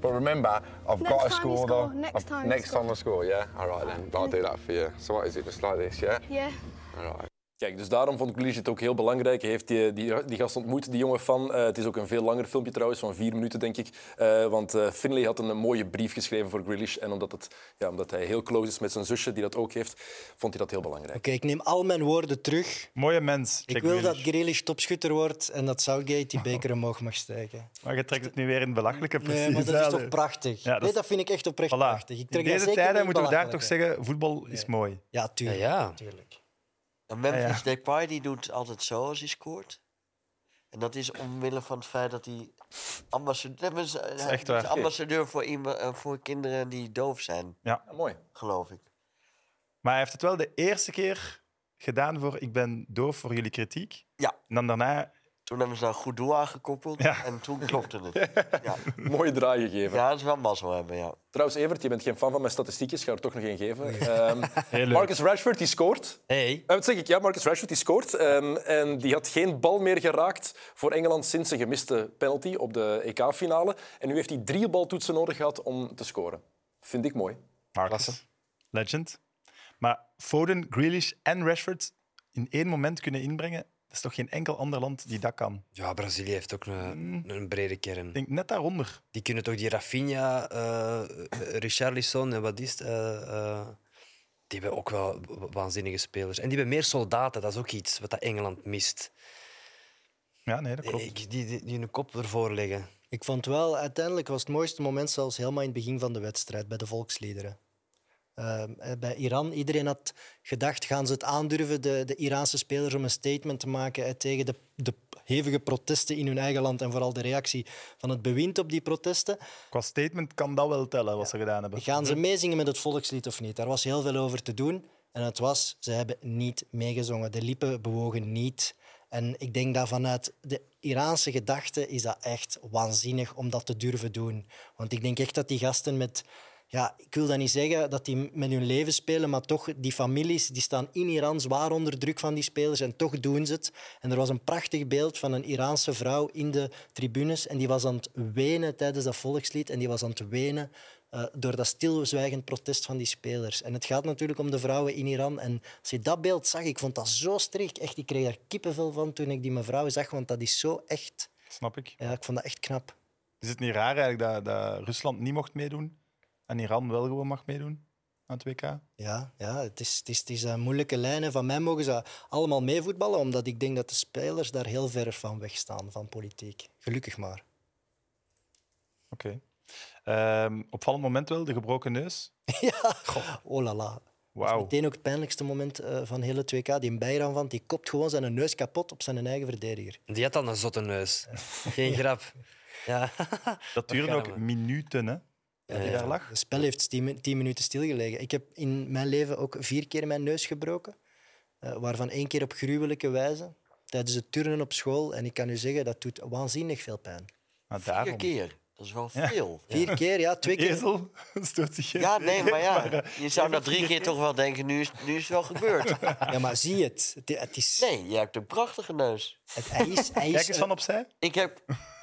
But remember, I've Next got to time score, you though. score, next I've- time you Next score. time I score, yeah? All right, then. I'll do that for you. So what is it, just like this, yeah? Yeah. All right. Kijk, dus daarom vond Grealish het ook heel belangrijk. Hij heeft die, die, die gast ontmoet, die jonge fan. Eh, het is ook een veel langer filmpje trouwens, van vier minuten denk ik. Eh, want eh, Finlay had een, eh, mooie brief geschreven voor Grealish. En omdat, het, ja, omdat hij heel close is met zijn zusje, die dat ook heeft, vond hij dat heel belangrijk. Oké, ik neem al mijn woorden terug. Mooie mens. Ik Jack wil dat Grealish. Grealish topschutter wordt en dat Southgate die beker omhoog mag *laughs* steken. Maar je trekt het nu weer in belachelijke precies. Nee, maar dat is toch Voilà. prachtig? Ja, dat Nee, is- dat vind ik echt oprecht prachtig. Ik In trek dat deze zeker tijden niet moeten we daar toch belachelijk. zeggen, voetbal is mooi. Ja, Ja, tuurlijk. ja. tuurlijk. En Memphis Ja, ja. Depay die doet altijd zo als hij scoort. En dat is omwille van het feit dat hij ambassadeur, is echt waar. ambassadeur voor, iemand, eh, voor kinderen die doof zijn, Ja, mooi. geloof ik. Maar hij heeft het wel de eerste keer gedaan voor ik ben doof voor jullie kritiek. Ja. En dan daarna... Toen hebben ze daar goed doel aangekoppeld Ja. en toen klopte het. Ja, Mooie draai gegeven. ja dat is wel mazzel hebben, ja. Trouwens, Evert, je bent geen fan van mijn statistiekjes. Ik ga er toch nog één geven. Ehm, *laughs* Heel leuk. Marcus Rashford, die scoort. Hey. Eh, wat zeg ik? Ja, Marcus Rashford die scoort. Ehm, en die had geen bal meer geraakt voor Engeland sinds een gemiste penalty op de EK-finale. En nu heeft hij drie baltoetsen nodig gehad om te scoren. Vind ik mooi. Marcus. Legend. Maar Foden, Grealish en Rashford in één moment kunnen inbrengen, dat is toch geen enkel ander land die dat kan. Ja, Brazilië heeft ook een, een brede Ik kern. denk net daaronder. Die kunnen toch die Rafinha, eh Richarlison en wat is het? eh, eh, die hebben ook wel wa- waanzinnige spelers. En die hebben meer soldaten, dat is ook iets wat dat Engeland mist. Ja, nee, dat klopt. Ik, die, die, die hun kop ervoor leggen. Ik vond wel, uiteindelijk was het mooiste moment zelfs helemaal in het begin van de wedstrijd, bij de volksliederen. Ehm, eh, bij Iran, iedereen had gedacht, gaan ze het aandurven, de, de Iraanse spelers, om een statement te maken eh, tegen de, de hevige protesten in hun eigen land en vooral de reactie van het bewind op die protesten. Qua statement kan dat wel tellen, wat ze gedaan hebben. Gaan ze meezingen met het volkslied of niet? Daar was heel veel over te doen. En het was, ze hebben niet meegezongen. De lippen bewogen niet. En ik denk dat vanuit de Iraanse gedachte is dat echt waanzinnig om dat te durven doen. Want ik denk echt dat die gasten met... Ja, ik wil dat niet zeggen dat die met hun leven spelen, maar toch, die families die staan in Iran zwaar onder druk van die spelers en toch doen ze het. En er was een prachtig beeld van een Iraanse vrouw in de tribunes en die was aan het wenen tijdens dat volkslied en die was aan het wenen eh, door dat stilzwijgend protest van die spelers. En het gaat natuurlijk om de vrouwen in Iran. En als je dat beeld zag, ik vond dat zo sterk. Echt, ik kreeg daar kippenvel van toen ik die mevrouw zag, want dat is zo echt. Snap ik. Ja, ik vond dat echt knap. Is het niet raar eigenlijk dat, dat Rusland niet mocht meedoen en Iran wel gewoon mag meedoen aan het WK? Ja, ja het is, het is, het is een moeilijke lijn. en Van mij mogen ze allemaal meevoetballen, omdat ik denk dat de spelers daar heel ver van wegstaan, van politiek. Gelukkig maar. Oké. Ehm, opvallend moment wel, de gebroken neus. Oh la la. Wauw. Meteen ook het pijnlijkste moment eh, van hele 2K. Die Bijram van, die kopt gewoon zijn neus kapot op zijn eigen verdediger. Die had al een zotte neus. Geen grap. Ja. Dat duurde ook gaan we. minuten, hè? Ja, die daar lag. Het spel heeft tien, min- tien minuten stilgelegen. Ik heb in mijn leven ook vier keer mijn neus gebroken. eh, waarvan één keer op gruwelijke wijze. Tijdens het turnen op school. En ik kan u zeggen, dat doet waanzinnig veel pijn. Maar Vier daarom. keer, dat is wel veel. Vier keer, ja, *laughs* twee keer. Ezel stoot zich in. Ja, nee, maar *laughs* ja, eh, je zou na drie keer toch wel denken, nu is, nu is het wel gebeurd. *laughs* Ja, maar zie het. Het, het is... Nee, je hebt een prachtige neus. Het, hij is, hij *laughs* is eh, Kijk eens van opzij. Ik *laughs* heb...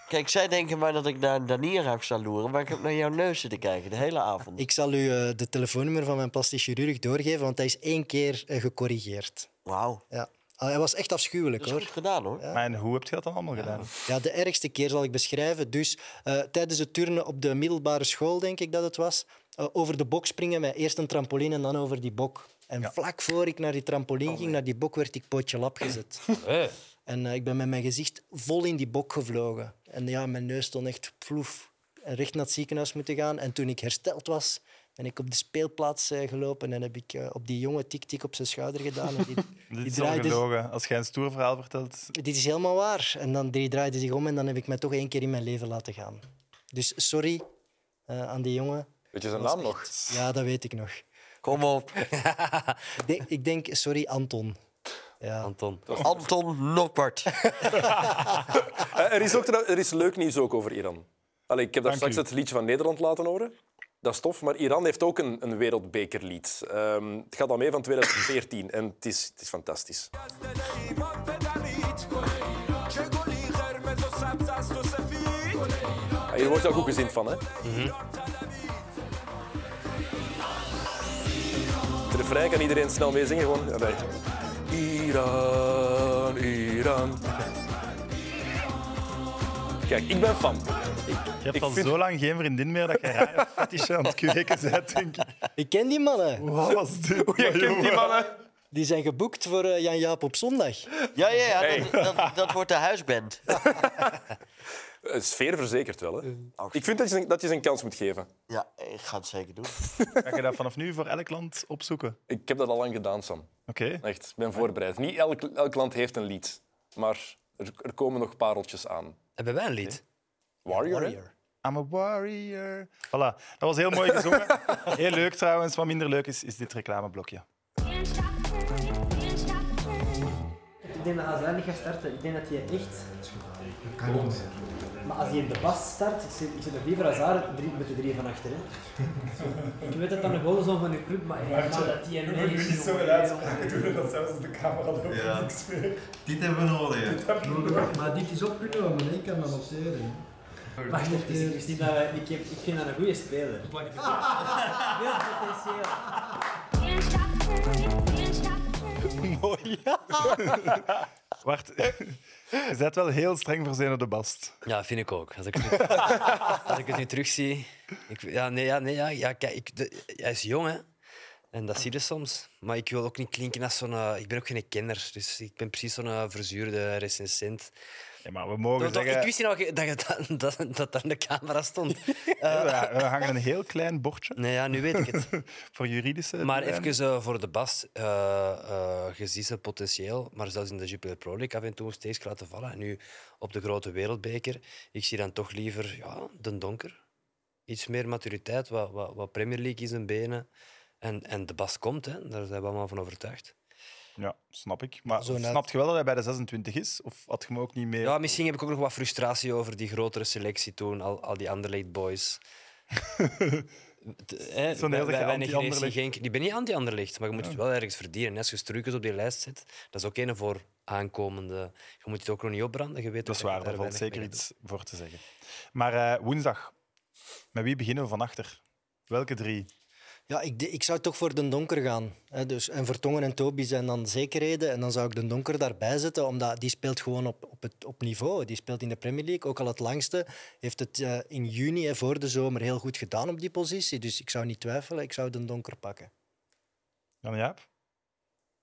Kijk, zij denken maar dat ik naar een danier heb staan loeren, maar ik heb naar jouw neus zitten kijken de hele avond. Ik zal u eh, de telefoonnummer van mijn plastisch chirurg doorgeven, want hij is één keer eh, gecorrigeerd. Wauw. Ja. Ah, Hij was echt afschuwelijk, Dat is Dus hoor. goed gedaan, hoor. Maar en hoe heb je dat dan allemaal gedaan? Ja, de ergste keer zal ik beschrijven. Dus eh, tijdens het turnen op de middelbare school, denk ik dat het was, eh, over de bok springen met eerst een trampoline en dan over die bok. En vlak voor ik naar die trampoline ging, naar die bok, werd ik pootje lap gezet. Hey. en eh, ik ben met mijn gezicht vol in die bok gevlogen. En ja, mijn neus stond echt ploef. En recht naar het ziekenhuis moeten gaan. En toen ik hersteld was, ben ik op de speelplaats eh, gelopen en heb ik eh, op die jongen tik-tik op zijn schouder gedaan. En *laughs* die, Dit die is al draaide gelogen. Als jij een stoer verhaal vertelt, dit is helemaal waar. En dan die draaide zich om en dan heb ik mij toch één keer in mijn leven laten gaan. Dus sorry eh, aan die jongen. Weet je zijn naam nog? Ja, dat weet ik nog. Kom op. Ik denk, ik denk sorry Anton. Ja. Anton. *laughs* Anton Noppert. Eh, er, is ook, trouw- er is leuk nieuws ook over Iran. Allee, ik heb daar Dank straks u. het liedje van Nederland laten horen. Dat is tof, maar Iran heeft ook een, een wereldbekerlied. Ehm, het gaat al mee van 2014 en het is, het is fantastisch. Ja, Hier wordt je ook goed gezind van, hè? Mm-hmm. Het refrein kan iedereen snel mee zingen. Gewoon. Ja, nee. Iran, Iran. Kijk, ik ben fan. Je hebt al zo lang geen vriendin meer *laughs* dat je rare fetishen aan het kweken bent, denk ik. Ik ken die mannen. Wat was dit? Je kent die man, hè? Die zijn geboekt voor eh, Jan-Jaap op zondag. Ja, ja, ja. Dat, dat, dat wordt de huisband. Eh, Sfeer verzekert wel, hè? Ik vind dat je, ze- dat je ze een kans moet geven. Ja, ik ga het zeker doen. Ga je dat vanaf nu voor elk land opzoeken? Ik heb dat al lang gedaan, Sam. Oké. Echt, ik ben voorbereid. Niet elk, elk land heeft een lied, maar er, er komen nog pareltjes aan. Hebben wij een lied? Warrior, hè? I'm a warrior. Voilà, dat was heel mooi *laughs* gezongen. Heel leuk trouwens. Wat minder leuk is, is dit *laughs* reclameblokje. Can't stop burning, can't stop burning. Ik denk dat als hij niet gaat starten, ik denk dat hij echt... Gewoon. Maar als hij in de bas start, ik zit, ik zit nog liever als haar drie, met de drie van achter. Hè. ik weet dat dan nog wel zo van de club, maar hij maakt dat hij een nee is. jongen. Dit hebben we nodig. Maar dit is opgenomen, ik kan dat noteren. Maar het is, het is niet dat wij- ik, heb, ik vind dat een goede speler. Ja, potentieel. Can't stop burning, can't stop burning. *laughs* Wacht, je bent wel heel streng voor Zeno de Bast. Ja, vind ik ook. Als ik het nu, als ik het nu terugzie. Ik, ja, nee, ja, nee, ja, ja kijk, ik, de- hij is jong, hè. En dat zie je soms. Maar ik wil ook niet klinken als zo'n... eh, ik ben ook geen kenner, dus ik ben precies zo'n eh, verzuurde recensent. Ja, maar we mogen Toch, toch, zeggen... ik wist niet dat, je- dat, je- dat, dat, dat daar de camera stond. Eh, Ja, we hangen een heel klein bordje nee, ja, nu weet ik het. *laughs* voor juridische... Maar doeleinden. even eh, voor de Bas, eh eh, je ziet zijn potentieel, maar zelfs in de Jupiler Pro League af en toe steeds laten vallen. En nu op de grote wereldbeker, ik zie dan toch liever ja, den donker. Iets meer maturiteit, wat, wat, wat Premier League in zijn benen. En, en de Bas komt, hè. daar zijn we allemaal van overtuigd. Ja, snap ik. Maar Zo net. snap je wel dat hij bij de 26 is? Of had je hem ook niet mee... Ja, misschien heb ik ook nog wat frustratie over die grotere selectie toen, al, al die Anderlecht *laughs* boys. T- hè, Zo'n wij- hele wij- weinig anti-Anderlecht. racing, geen- Ik ben niet anti-Anderlecht, maar je moet het wel ergens verdienen. Als je Struikens op die lijst zet, dat is ook een voor aankomende. Je moet het ook nog niet opbranden. Je weet Dat is ook je waar, daar valt weinig mee zeker gaat iets voor te zeggen. Maar eh, woensdag, met wie beginnen we van achter? Welke drie? Ja, ik, de- ik zou toch voor Den Donker gaan. Hè? Dus, en Vertongen en Toby zijn dan zekerheden. En dan zou ik Den Donker daarbij zetten, omdat die speelt gewoon op, op, het, op niveau. Die speelt in de Premier League, ook al het langste. Heeft het eh, in juni, hè, voor de zomer, heel goed gedaan op die positie. Dus ik zou niet twijfelen, ik zou Den Donker pakken. Jan Jaap?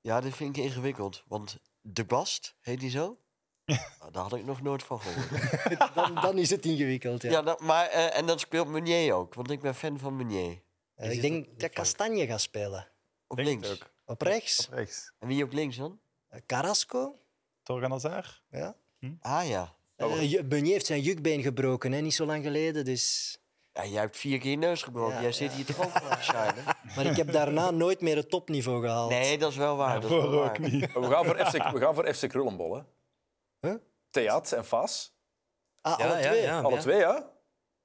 Ja, dit vind ik ingewikkeld. Want De Bast, heet die zo? Nou, Daar had ik nog nooit van gehoord. Dan, dan is het ingewikkeld, ja. Ja, dat, maar, eh, en dat speelt Meunier ook, want ik ben fan van Meunier. Eh, ik denk dat Castagne gaat spelen. Op Denk links. het ook. Op rechts, Rechts. En wie op links dan? eh, Carrasco. Torgan Hazard? Ja. Ah ja. Eh, Ju- Meunier heeft zijn jukbeen gebroken, hè? niet zo lang geleden. Dus... ja jij hebt vier keer je neus gebroken. Ja, jij zit hier toch ook voor te shinen? Maar ik heb daarna nooit meer het topniveau gehaald. Nee, dat is wel waar. dat is wel Voor ook waar. niet. We gaan voor FC, we gaan voor FC Krullenbol, hè? Huh? Theat en Faas. Ah, alle doen. Ja, twee? ja, ja. Alle ja. twee, ja.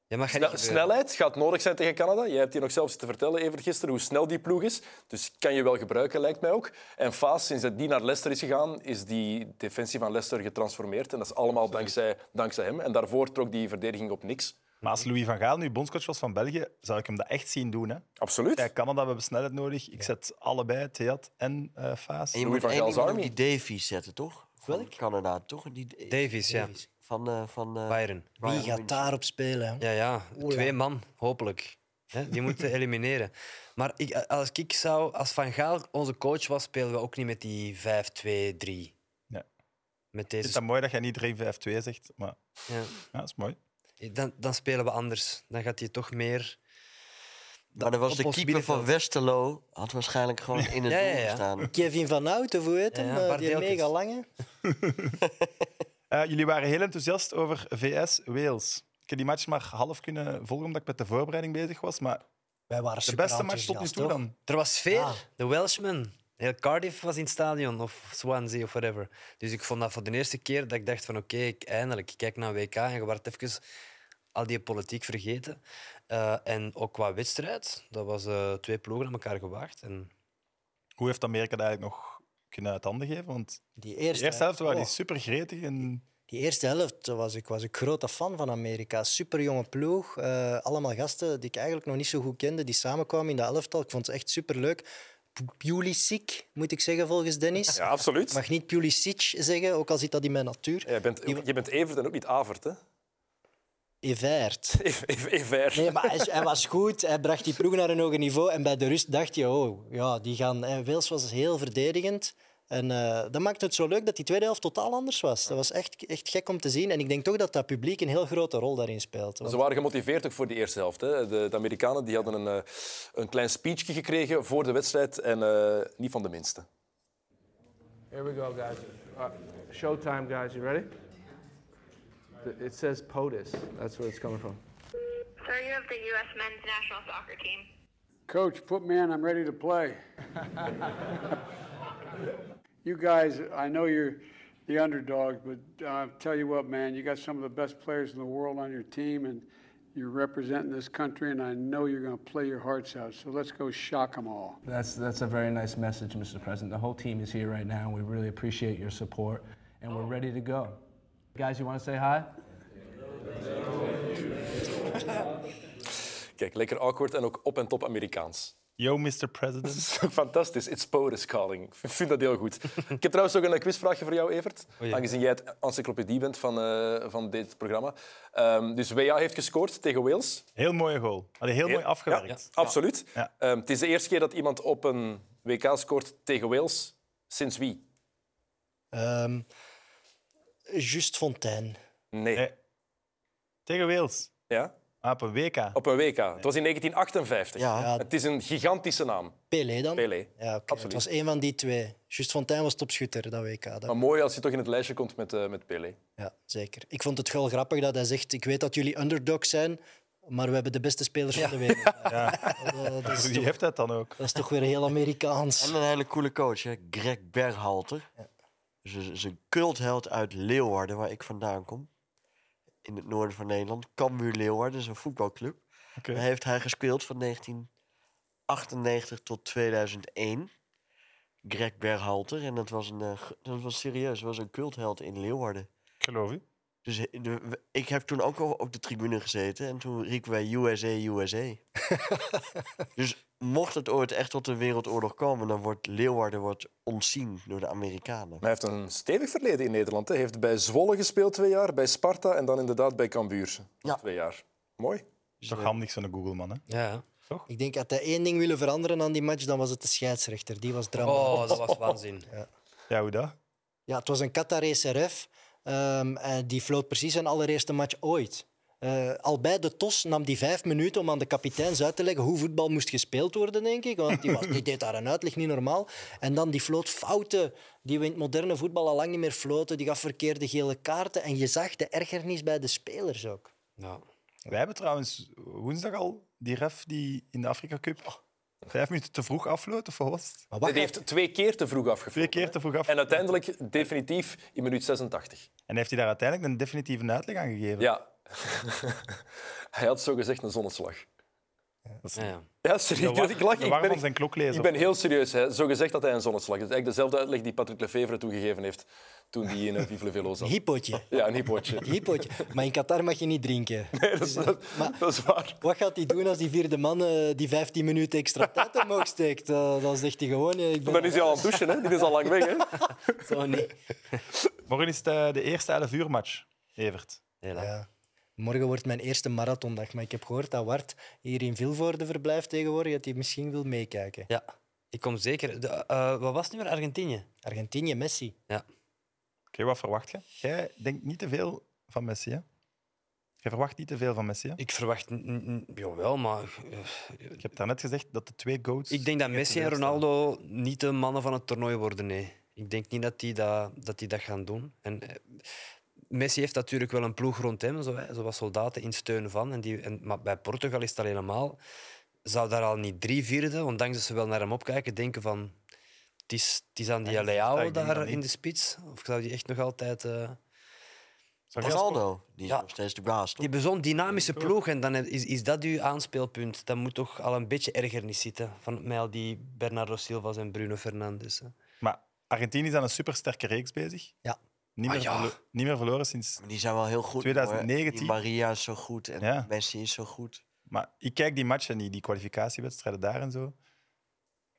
Ja, maar gaat Snel- niet gebeuren. snelheid gaat nodig zijn tegen Canada. Jij hebt hier nog zelfs te vertellen, even gisteren, hoe snel die ploeg is. Dus kan je wel gebruiken, lijkt mij ook. En Faas, sinds dat die naar Leicester is gegaan, is die defensie van Leicester getransformeerd. En dat is allemaal dankzij, dankzij hem. En daarvoor trok die verdediging op niks. Maar als Louis van Gaal nu bondscoach was van België, zou ik hem dat echt zien doen. Hè? Absoluut. Bij Canada, we hebben snelheid nodig. Ik zet allebei, Theat en eh Faas. En je Louis moet één van Gaal's iemand op Army. die Davies zetten, toch? Van Welk? Canada, toch? Die, Davies, ja. Van, eh, van eh, Bayern. Wie Bayern gaat München. daarop spelen? hè? Ja, ja. Twee man, hopelijk. Hè, die moeten elimineren. Maar ik, als ik zou... Als Van Gaal onze coach was, spelen we ook niet met die 5-2-3. Nee. Met Ik vind deze... dat mooi dat jij niet 3-5-2 zegt, maar Ja. ja, dat is mooi. Dan, dan spelen we anders. Dan gaat hij toch meer... Maar dan was op de ons keeper van middenveld. Westerlo had waarschijnlijk gewoon in het Ja, ja, doel ja. gestaan. Kevin van Houten, hoe heet Ja, hem? ja, eh, Bart die Deeltjes. mega lange. Eh, jullie waren heel enthousiast over VS-Wales. Ik heb die match maar half kunnen volgen omdat ik met de voorbereiding bezig was. Maar Wij waren de super beste match tot nu enthousiast, toe toch? dan. Er was sfeer. Ah. De Welshman. Heel Cardiff was in het stadion, of Swansea of whatever. Dus ik vond dat voor de eerste keer dat ik dacht van oké, ik eindelijk, ik kijk naar WK en je werd even al die politiek vergeten. Eh, en ook qua wedstrijd, dat was eh, twee ploegen aan elkaar gewaagd. En Hoe heeft Amerika dat eigenlijk nog kunnen uit handen geven? Want Die de eerste, eerste helft waren die oh. super gretig. En... Die eerste helft was ik, was ik grote fan van Amerika. Super jonge ploeg. eh, allemaal gasten die ik eigenlijk nog niet zo goed kende, die samenkwamen in de elftal. Ik vond het echt super leuk. Pulisic, moet ik zeggen, volgens *laughs* Dennis. Ja, absoluut. Ik mag niet Pulisic zeggen, ook al zit dat in mijn natuur. Jij bent, je bent Evert en ook niet Avert, hè? *laughs* Eh, Evert. Ev- Ev- Evert. Nee, maar hij, is- hij was goed. Hij bracht die ploeg naar een hoger niveau. En bij de rust dacht je, oh, ja, die gaan... En Wales was heel verdedigend. En eh, dat maakte het zo leuk dat die tweede helft totaal anders was. Dat was echt, echt gek om te zien. En ik denk toch dat dat publiek een heel grote rol daarin speelt. Ze Want- waren gemotiveerd ook voor die eerste helft. Hè. De, de Amerikanen die hadden een, eh, een klein speechje gekregen voor de wedstrijd en eh, niet van de minste. Here we go, guys. Uh, showtime, guys. You ready? Th- It says POTUS. That's where it's coming from. Sir, you have the U.S. men's national soccer team. Coach, put me in. I'm ready to play. you guys, I know you're the underdogs, but uh, tell you what, man, you got some of the best players in the world on your team, and you're representing this country, and I know you're going to play your hearts out. So let's go shock them all. That's that's a very nice message, Mr. President. The whole team is here right now. We really appreciate your support, and we're ready to go. Guys, you want to say hi? Kijk, lekker awkward en ook op en top Amerikaans. Yo, Mr. President. Dat is *laughs* ook fantastisch. It's POTUS calling. Ik vind dat heel *laughs* goed. Ik heb trouwens ook een eh, quizvraagje voor jou, Evert. Aangezien jij het encyclopedie bent van, eh, van dit programma. Ehm, dus WA heeft gescoord tegen Wales. Heel mooie goal. Allee, heel mooi afgewerkt. Ja, absoluut. Ja. Ehm, het is de eerste keer dat iemand op een WK scoort tegen Wales. Sinds wie? Ehm Just Fontaine. Nee. Nee. Tegen Wales. Ja? Ah, op een WK. Op een WK. Het was in 1958. Ja. Ja, Het is een gigantische naam, Pelé dan? Pelé. Ja, oké. Absoluut. Het was één van die twee. Just Fontaine was topschutter dat WK. Dat... Maar mooi als je toch in het lijstje komt met, eh, met Pelé. Ja, zeker. Ik vond het wel grappig dat hij zegt: Ik weet dat jullie underdogs zijn, maar we hebben de beste spelers van de *laughs* wereld. Oh, Dat, dat *laughs* is Wie toch, heeft dat dan ook? dat is toch weer heel Amerikaans. En een hele coole coach, hè? Greg Berhalter. Dus een- is een cultheld uit Leeuwarden, waar ik vandaan kom. In het noorden van Nederland. Cambuur Leeuwarden is een voetbalclub. Oké. Daar heeft hij gespeeld van 1998 tot 2001. Greg Berhalter. En dat was, een, eh, g- dat was serieus, dat was een cultheld in Leeuwarden. Ik geloof u. Dus he- de- we- ik heb toen ook al op de tribune gezeten en toen riepen wij USA, *laughs* USA. dus mocht het ooit echt tot een wereldoorlog komen, dan wordt Leeuwarden wordt ontzien door de Amerikanen. Maar hij heeft een stevig verleden in Nederland. Hè. Hij heeft bij Zwolle gespeeld twee jaar, bij Sparta en dan inderdaad bij Cambuur. Ja. Twee jaar. Mooi. Dus, Is eh, toch handig zo'n Google-man, hè? ja. Ik denk dat hij één ding willen veranderen aan die match, dan was het de scheidsrechter. Die was drama. Oh, dat was waanzin. Ja, hoe dat? Ja, het was een Qatarese ref. ehm, en die floot precies zijn allereerste match ooit. Eh, al bij de TOS nam die vijf minuten om aan de kapiteins uit te leggen hoe voetbal moest gespeeld worden, denk ik. Want die, was, die deed daar een uitleg, niet normaal. En dan die floot fouten die we in het moderne voetbal al lang niet meer floten. Die gaf verkeerde gele kaarten. En je zag de ergernis bij de spelers ook. Ja. Wij hebben trouwens woensdag al die ref die in de Afrika Cup vijf minuten te vroeg afloot, of wat was het? Maar Hij wacht, heeft twee keer te vroeg afgevallen. Twee keer te vroeg af. En uiteindelijk definitief in minuut 86. En heeft hij daar uiteindelijk een *laughs* definitieve uitleg aan gegeven? Ja. hij had zo gezegd een zonneslag. Ja, ja. Ja, serieus. wa- ik lach. de Ik waar van ben, zijn kloklezer. ik ben heel serieus. Hè. Zo gezegd dat hij een zonneslag is. Eigenlijk dezelfde uitleg die Patrick Lefevre toegegeven heeft toen hij in eh, Vive le Velo Een zat. hypootje. Ja, een hypootje. Een hypootje. Maar in Qatar mag je niet drinken. *laughs* dat, is, dat, dat is waar. Wat gaat hij doen als die vierde man eh, die 15 minuten extra tijd omhoog steekt? Eh, dan zegt hij gewoon... eh, ik ben Dan is hij al aan het douchen. Hè. Die is al lang weg. Hè. Zo niet. Morgen is het eh, de eerste 11 uur match, Evert. Hela. Ja. Morgen wordt mijn eerste marathondag, maar ik heb gehoord dat Wart hier in Vilvoorde verblijft tegenwoordig, dat hij misschien wil meekijken. Ja, ik kom zeker. De, eh, wat was het nu weer? Argentinië? Argentinië, Messi. Oké, wat verwacht je? Jij denkt niet te veel van Messi, hè? Je verwacht niet te veel van Messi, hè? Ik verwacht... n- n- n- Jawel, maar... eh, Je hebt daarnet gezegd dat de twee goats... Ik denk dat je Messi en teleurstellen. Ronaldo niet de mannen van het toernooi worden, nee. Ik denk niet dat die dat, dat, die dat gaan doen. En, eh, Messi heeft natuurlijk wel een ploeg rond hem, zo, hè, zo wat soldaten in steun van. En die, en, maar bij Portugal is het al helemaal... Zou daar al niet drie vierde, ondanks dat ze wel naar hem opkijken, denken van... Het is, het is aan die Ja, dat is- ja, Leao ik denk dat daar in niet. de spits. Of zou die echt nog altijd... eh, Zou jij als Ronaldo, die is Ja. nog steeds de baas. toch? Die hebben zo'n dynamische ploeg en dan is, is dat uw aanspeelpunt. Dat moet toch al een beetje ergernis zitten van mij al die Bernardo Silva's en Bruno Fernandes. hè. Maar Argentinië is aan een supersterke reeks bezig. Ja. Niet meer, Ah, ja. verlo- niet meer verloren sinds... Maar Die zijn wel heel goed. hoor. 2019. Die Maria is zo goed en Ja. Messi is zo goed. Maar ik kijk die matchen niet, die kwalificatiewedstrijden daar en zo.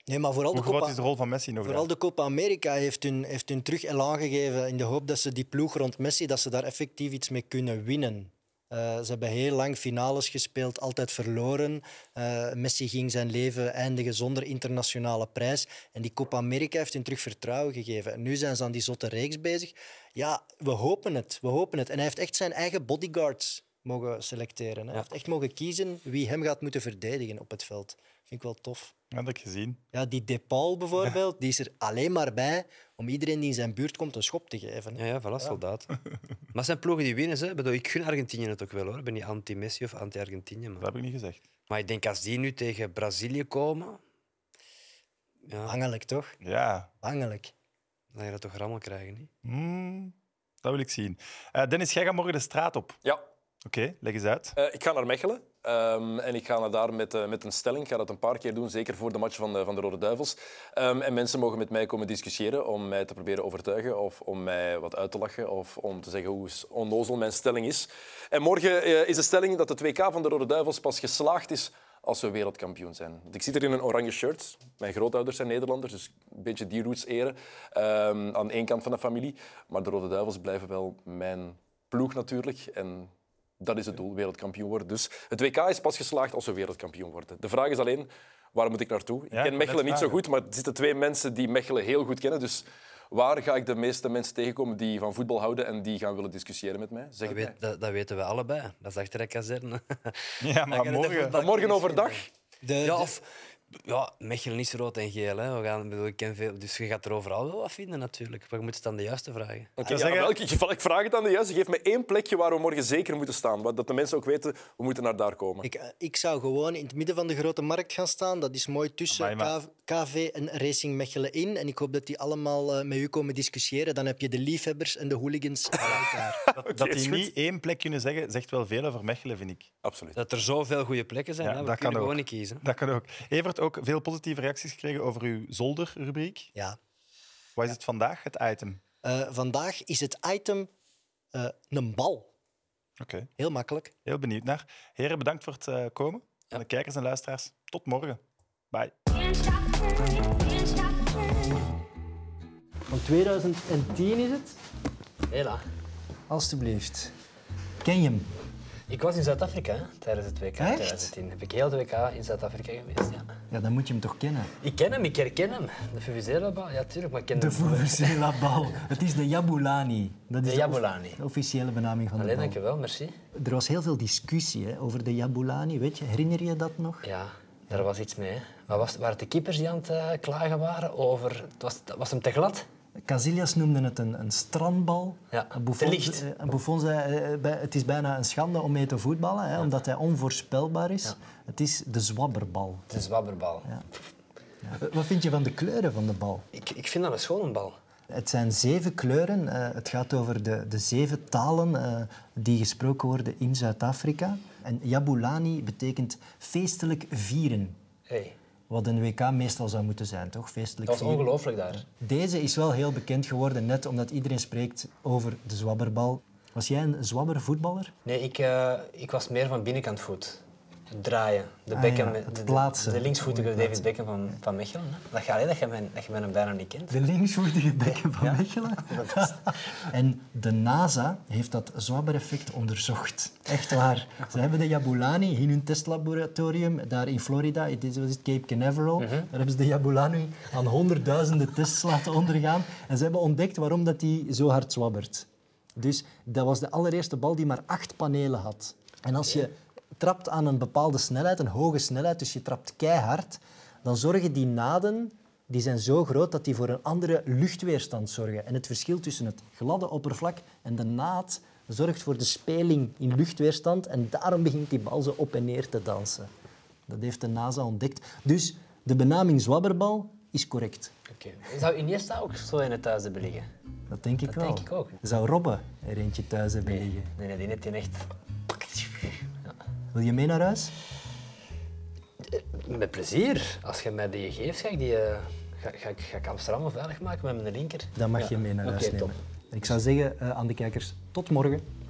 Nee, maar vooral Hoe de Copa... groot is de rol van Messi nog Vooral daar? de Copa America heeft hun, heeft hun terug elan gegeven in de hoop dat ze die ploeg rond Messi, dat ze daar effectief iets mee kunnen winnen. Eh, ze hebben heel lang finales gespeeld, altijd verloren. Eh, Messi ging zijn leven eindigen zonder internationale prijs. En die Copa America heeft hun terug vertrouwen gegeven. En nu zijn ze aan die zotte reeks bezig. Ja, we hopen het. We hopen het. En hij heeft echt zijn eigen bodyguards mogen selecteren. hè. Hij heeft echt mogen kiezen wie hem gaat moeten verdedigen op het veld. Vind ik wel tof. Ja, dat heb ik gezien. Ja, die Depal bijvoorbeeld, die is er alleen maar bij om iedereen die in zijn buurt komt een schop te geven. hè. Ja, ja, voilà, *laughs* soldaat. Maar het zijn ploegen die winnen. Ze. Ik bedoel, Ik gun Argentinië het ook wel hoor. Ik ben niet anti-Messi of anti-Argentinië. Dat Maar... heb ik niet gezegd. maar ik denk als die nu tegen Brazilië komen, ja, Hangelijk, toch? Ja, Hangelijk. dan ga je dat toch rammel krijgen. Niet? Hmm, dat wil ik zien. Eh, Dennis, jij gaat morgen de straat op. Ja, Oké, leg eens uit. Eh, ik ga naar Mechelen. Ehm, en ik ga naar daar met, eh, met een stelling. Ik ga dat een paar keer doen, zeker voor de match van de, van de Rode Duivels. Ehm, en mensen mogen met mij komen discussiëren om mij te proberen overtuigen of om mij wat uit te lachen of om te zeggen hoe s- onnozel mijn stelling is. En morgen eh, is de stelling dat het WK van de Rode Duivels pas geslaagd is als we wereldkampioen zijn. Want ik zit er in een oranje shirt. Mijn grootouders zijn Nederlanders, dus een beetje die roots eren ehm, aan één kant van de familie. Maar de Rode Duivels blijven wel mijn ploeg natuurlijk. En dat is het doel, wereldkampioen worden. Dus het WK is pas geslaagd als we wereldkampioen worden. De vraag is alleen, waar moet ik naartoe? Ja, ik ik ken wou Mechelen net niet zo vragen. goed, maar er zitten twee mensen die Mechelen heel goed kennen. Dus waar ga ik de meeste mensen tegenkomen die van voetbal houden en die gaan willen discussiëren met mij? Zeg Dat, het weet- mij. dat, dat weten we allebei. Dat is achter de kazerne. Ja, maar morgen... Maar morgen overdag? De, *laughs* Ja, de- of, ja, Mechelen is rood en geel. Hè. We gaan, ik bedoel, ik ken veel, dus je gaat er overal wel wat vinden natuurlijk. Maar je moet het aan de juiste vragen. Oké, wil ja, zeggen- wel, ik, *laughs* ik- ik vraag het aan de juiste. Geef me één plekje waar we morgen zeker moeten staan. wat- Dat de mensen ook weten, we moeten naar daar komen. ik, eh, ik zou gewoon in het midden van de grote markt gaan staan. Dat is mooi tussen Amai, K- KV en Racing Mechelen in. En ik hoop dat die allemaal eh, met u komen discussiëren. Dan heb je de liefhebbers en de *laughs* hooligans bij elkaar. Dat, dat Oké, is die goed. niet één plek kunnen zeggen, zegt wel veel over Mechelen, vind ik. Absoluut. Dat er zoveel goede plekken zijn, Ja, hè. we dat kan kunnen gewoon ook. niet kiezen. Dat kan ook. Evert, ook veel positieve reacties gekregen over uw zolderrubriek. Ja. Wat is het vandaag, het item? Eh, vandaag is het item eh, een bal. Oké, Heel makkelijk. heel benieuwd naar. Heren, bedankt voor het eh, komen. En de kijkers en luisteraars, tot morgen. Bye. Van 2010 is het. Hela. Alsjeblieft. Ken je hem? Ik was in Zuid-Afrika hè, tijdens het WK Echt? 2010. eh, Heb ik heel het WK in Zuid-Afrika geweest. Ja. Ja, dan moet je hem toch kennen. Ik ken hem, ik herken hem. De Fuvizela, ja tuurlijk, maar ik ken De hem. Vuvuzela bal. *laughs* Het is de Jabulani. Dat is De off- Jabulani. de officiële benaming van Allee, de bal. dankjewel, merci. Er was heel veel discussie hè, over de Jabulani. Weet je, herinner je dat nog? Ja, daar was iets mee. hè. Maar was, waren het de keepers die aan het eh, klagen waren over... het Was, het was hem te glad? Casillas noemde het een, een strandbal. Ja, te Buffon, licht. eh, en Buffon zei, eh, bij- het is bijna een schande om mee te voetballen, hè, omdat hij onvoorspelbaar is. Het is de zwabberbal. Het is een zwabberbal. Wat vind je van de kleuren van de bal? Ik, ik vind dat een schone bal. Het zijn zeven kleuren. Eh, het gaat over de, de zeven talen eh, die gesproken worden in Zuid-Afrika. En Jabulani betekent feestelijk vieren. Hey, Wat een WK meestal zou moeten zijn, toch? Feestelijk dat was vieren. ongelooflijk daar. Deze is wel heel bekend geworden, net omdat iedereen spreekt over de zwabberbal. Was jij een zwabber voetballer? Nee, ik, eh, ik was meer van binnenkant voet. Het draaien, de Ah, Beckham, ja, met- het de- de, plaatsen. de linksvoetige Moet je David Beckham van, van Mechelen. hè. Dat gaat hè, dat je mijn, dat je mijn bijna niet kent. De *laughs* linksvoetige bekken van *laughs* Mechelen. en de NASA heeft dat zwabbereffect onderzocht. Echt waar. Ze hebben de Jabulani in hun testlaboratorium daar in Florida, dit was het Cape Canaveral, daar hebben ze de Jabulani aan honderdduizenden tests laten ondergaan. En ze hebben ontdekt waarom dat die zo hard zwabbert. Dus dat was de allereerste bal die maar acht panelen had. En als je trapt aan een bepaalde snelheid, een hoge snelheid, dus je trapt keihard, dan zorgen die naden die zijn zo groot dat die voor een andere luchtweerstand zorgen. En het verschil tussen het gladde oppervlak en de naad zorgt voor de speling in luchtweerstand en daarom begint die bal zo op en neer te dansen. Dat heeft de NASA ontdekt. Dus de benaming zwabberbal is correct. Oké. Zou Iniesta ook zo in het thuis hebben liggen? Dat denk ik Dat wel. denk ik ook. Zou Robbe er eentje thuis hebben liggen? Nee, nee, die net die echt... Wil je mee naar huis? Met plezier. Als je mij die geeft, ga ik, die, eh, ga, ga, ik- ga ik Amsterdam wel veilig maken met mijn linker. Dan mag Ja. je mee naar Oké, huis top. nemen. Ik zou zeggen eh, aan de kijkers, tot morgen.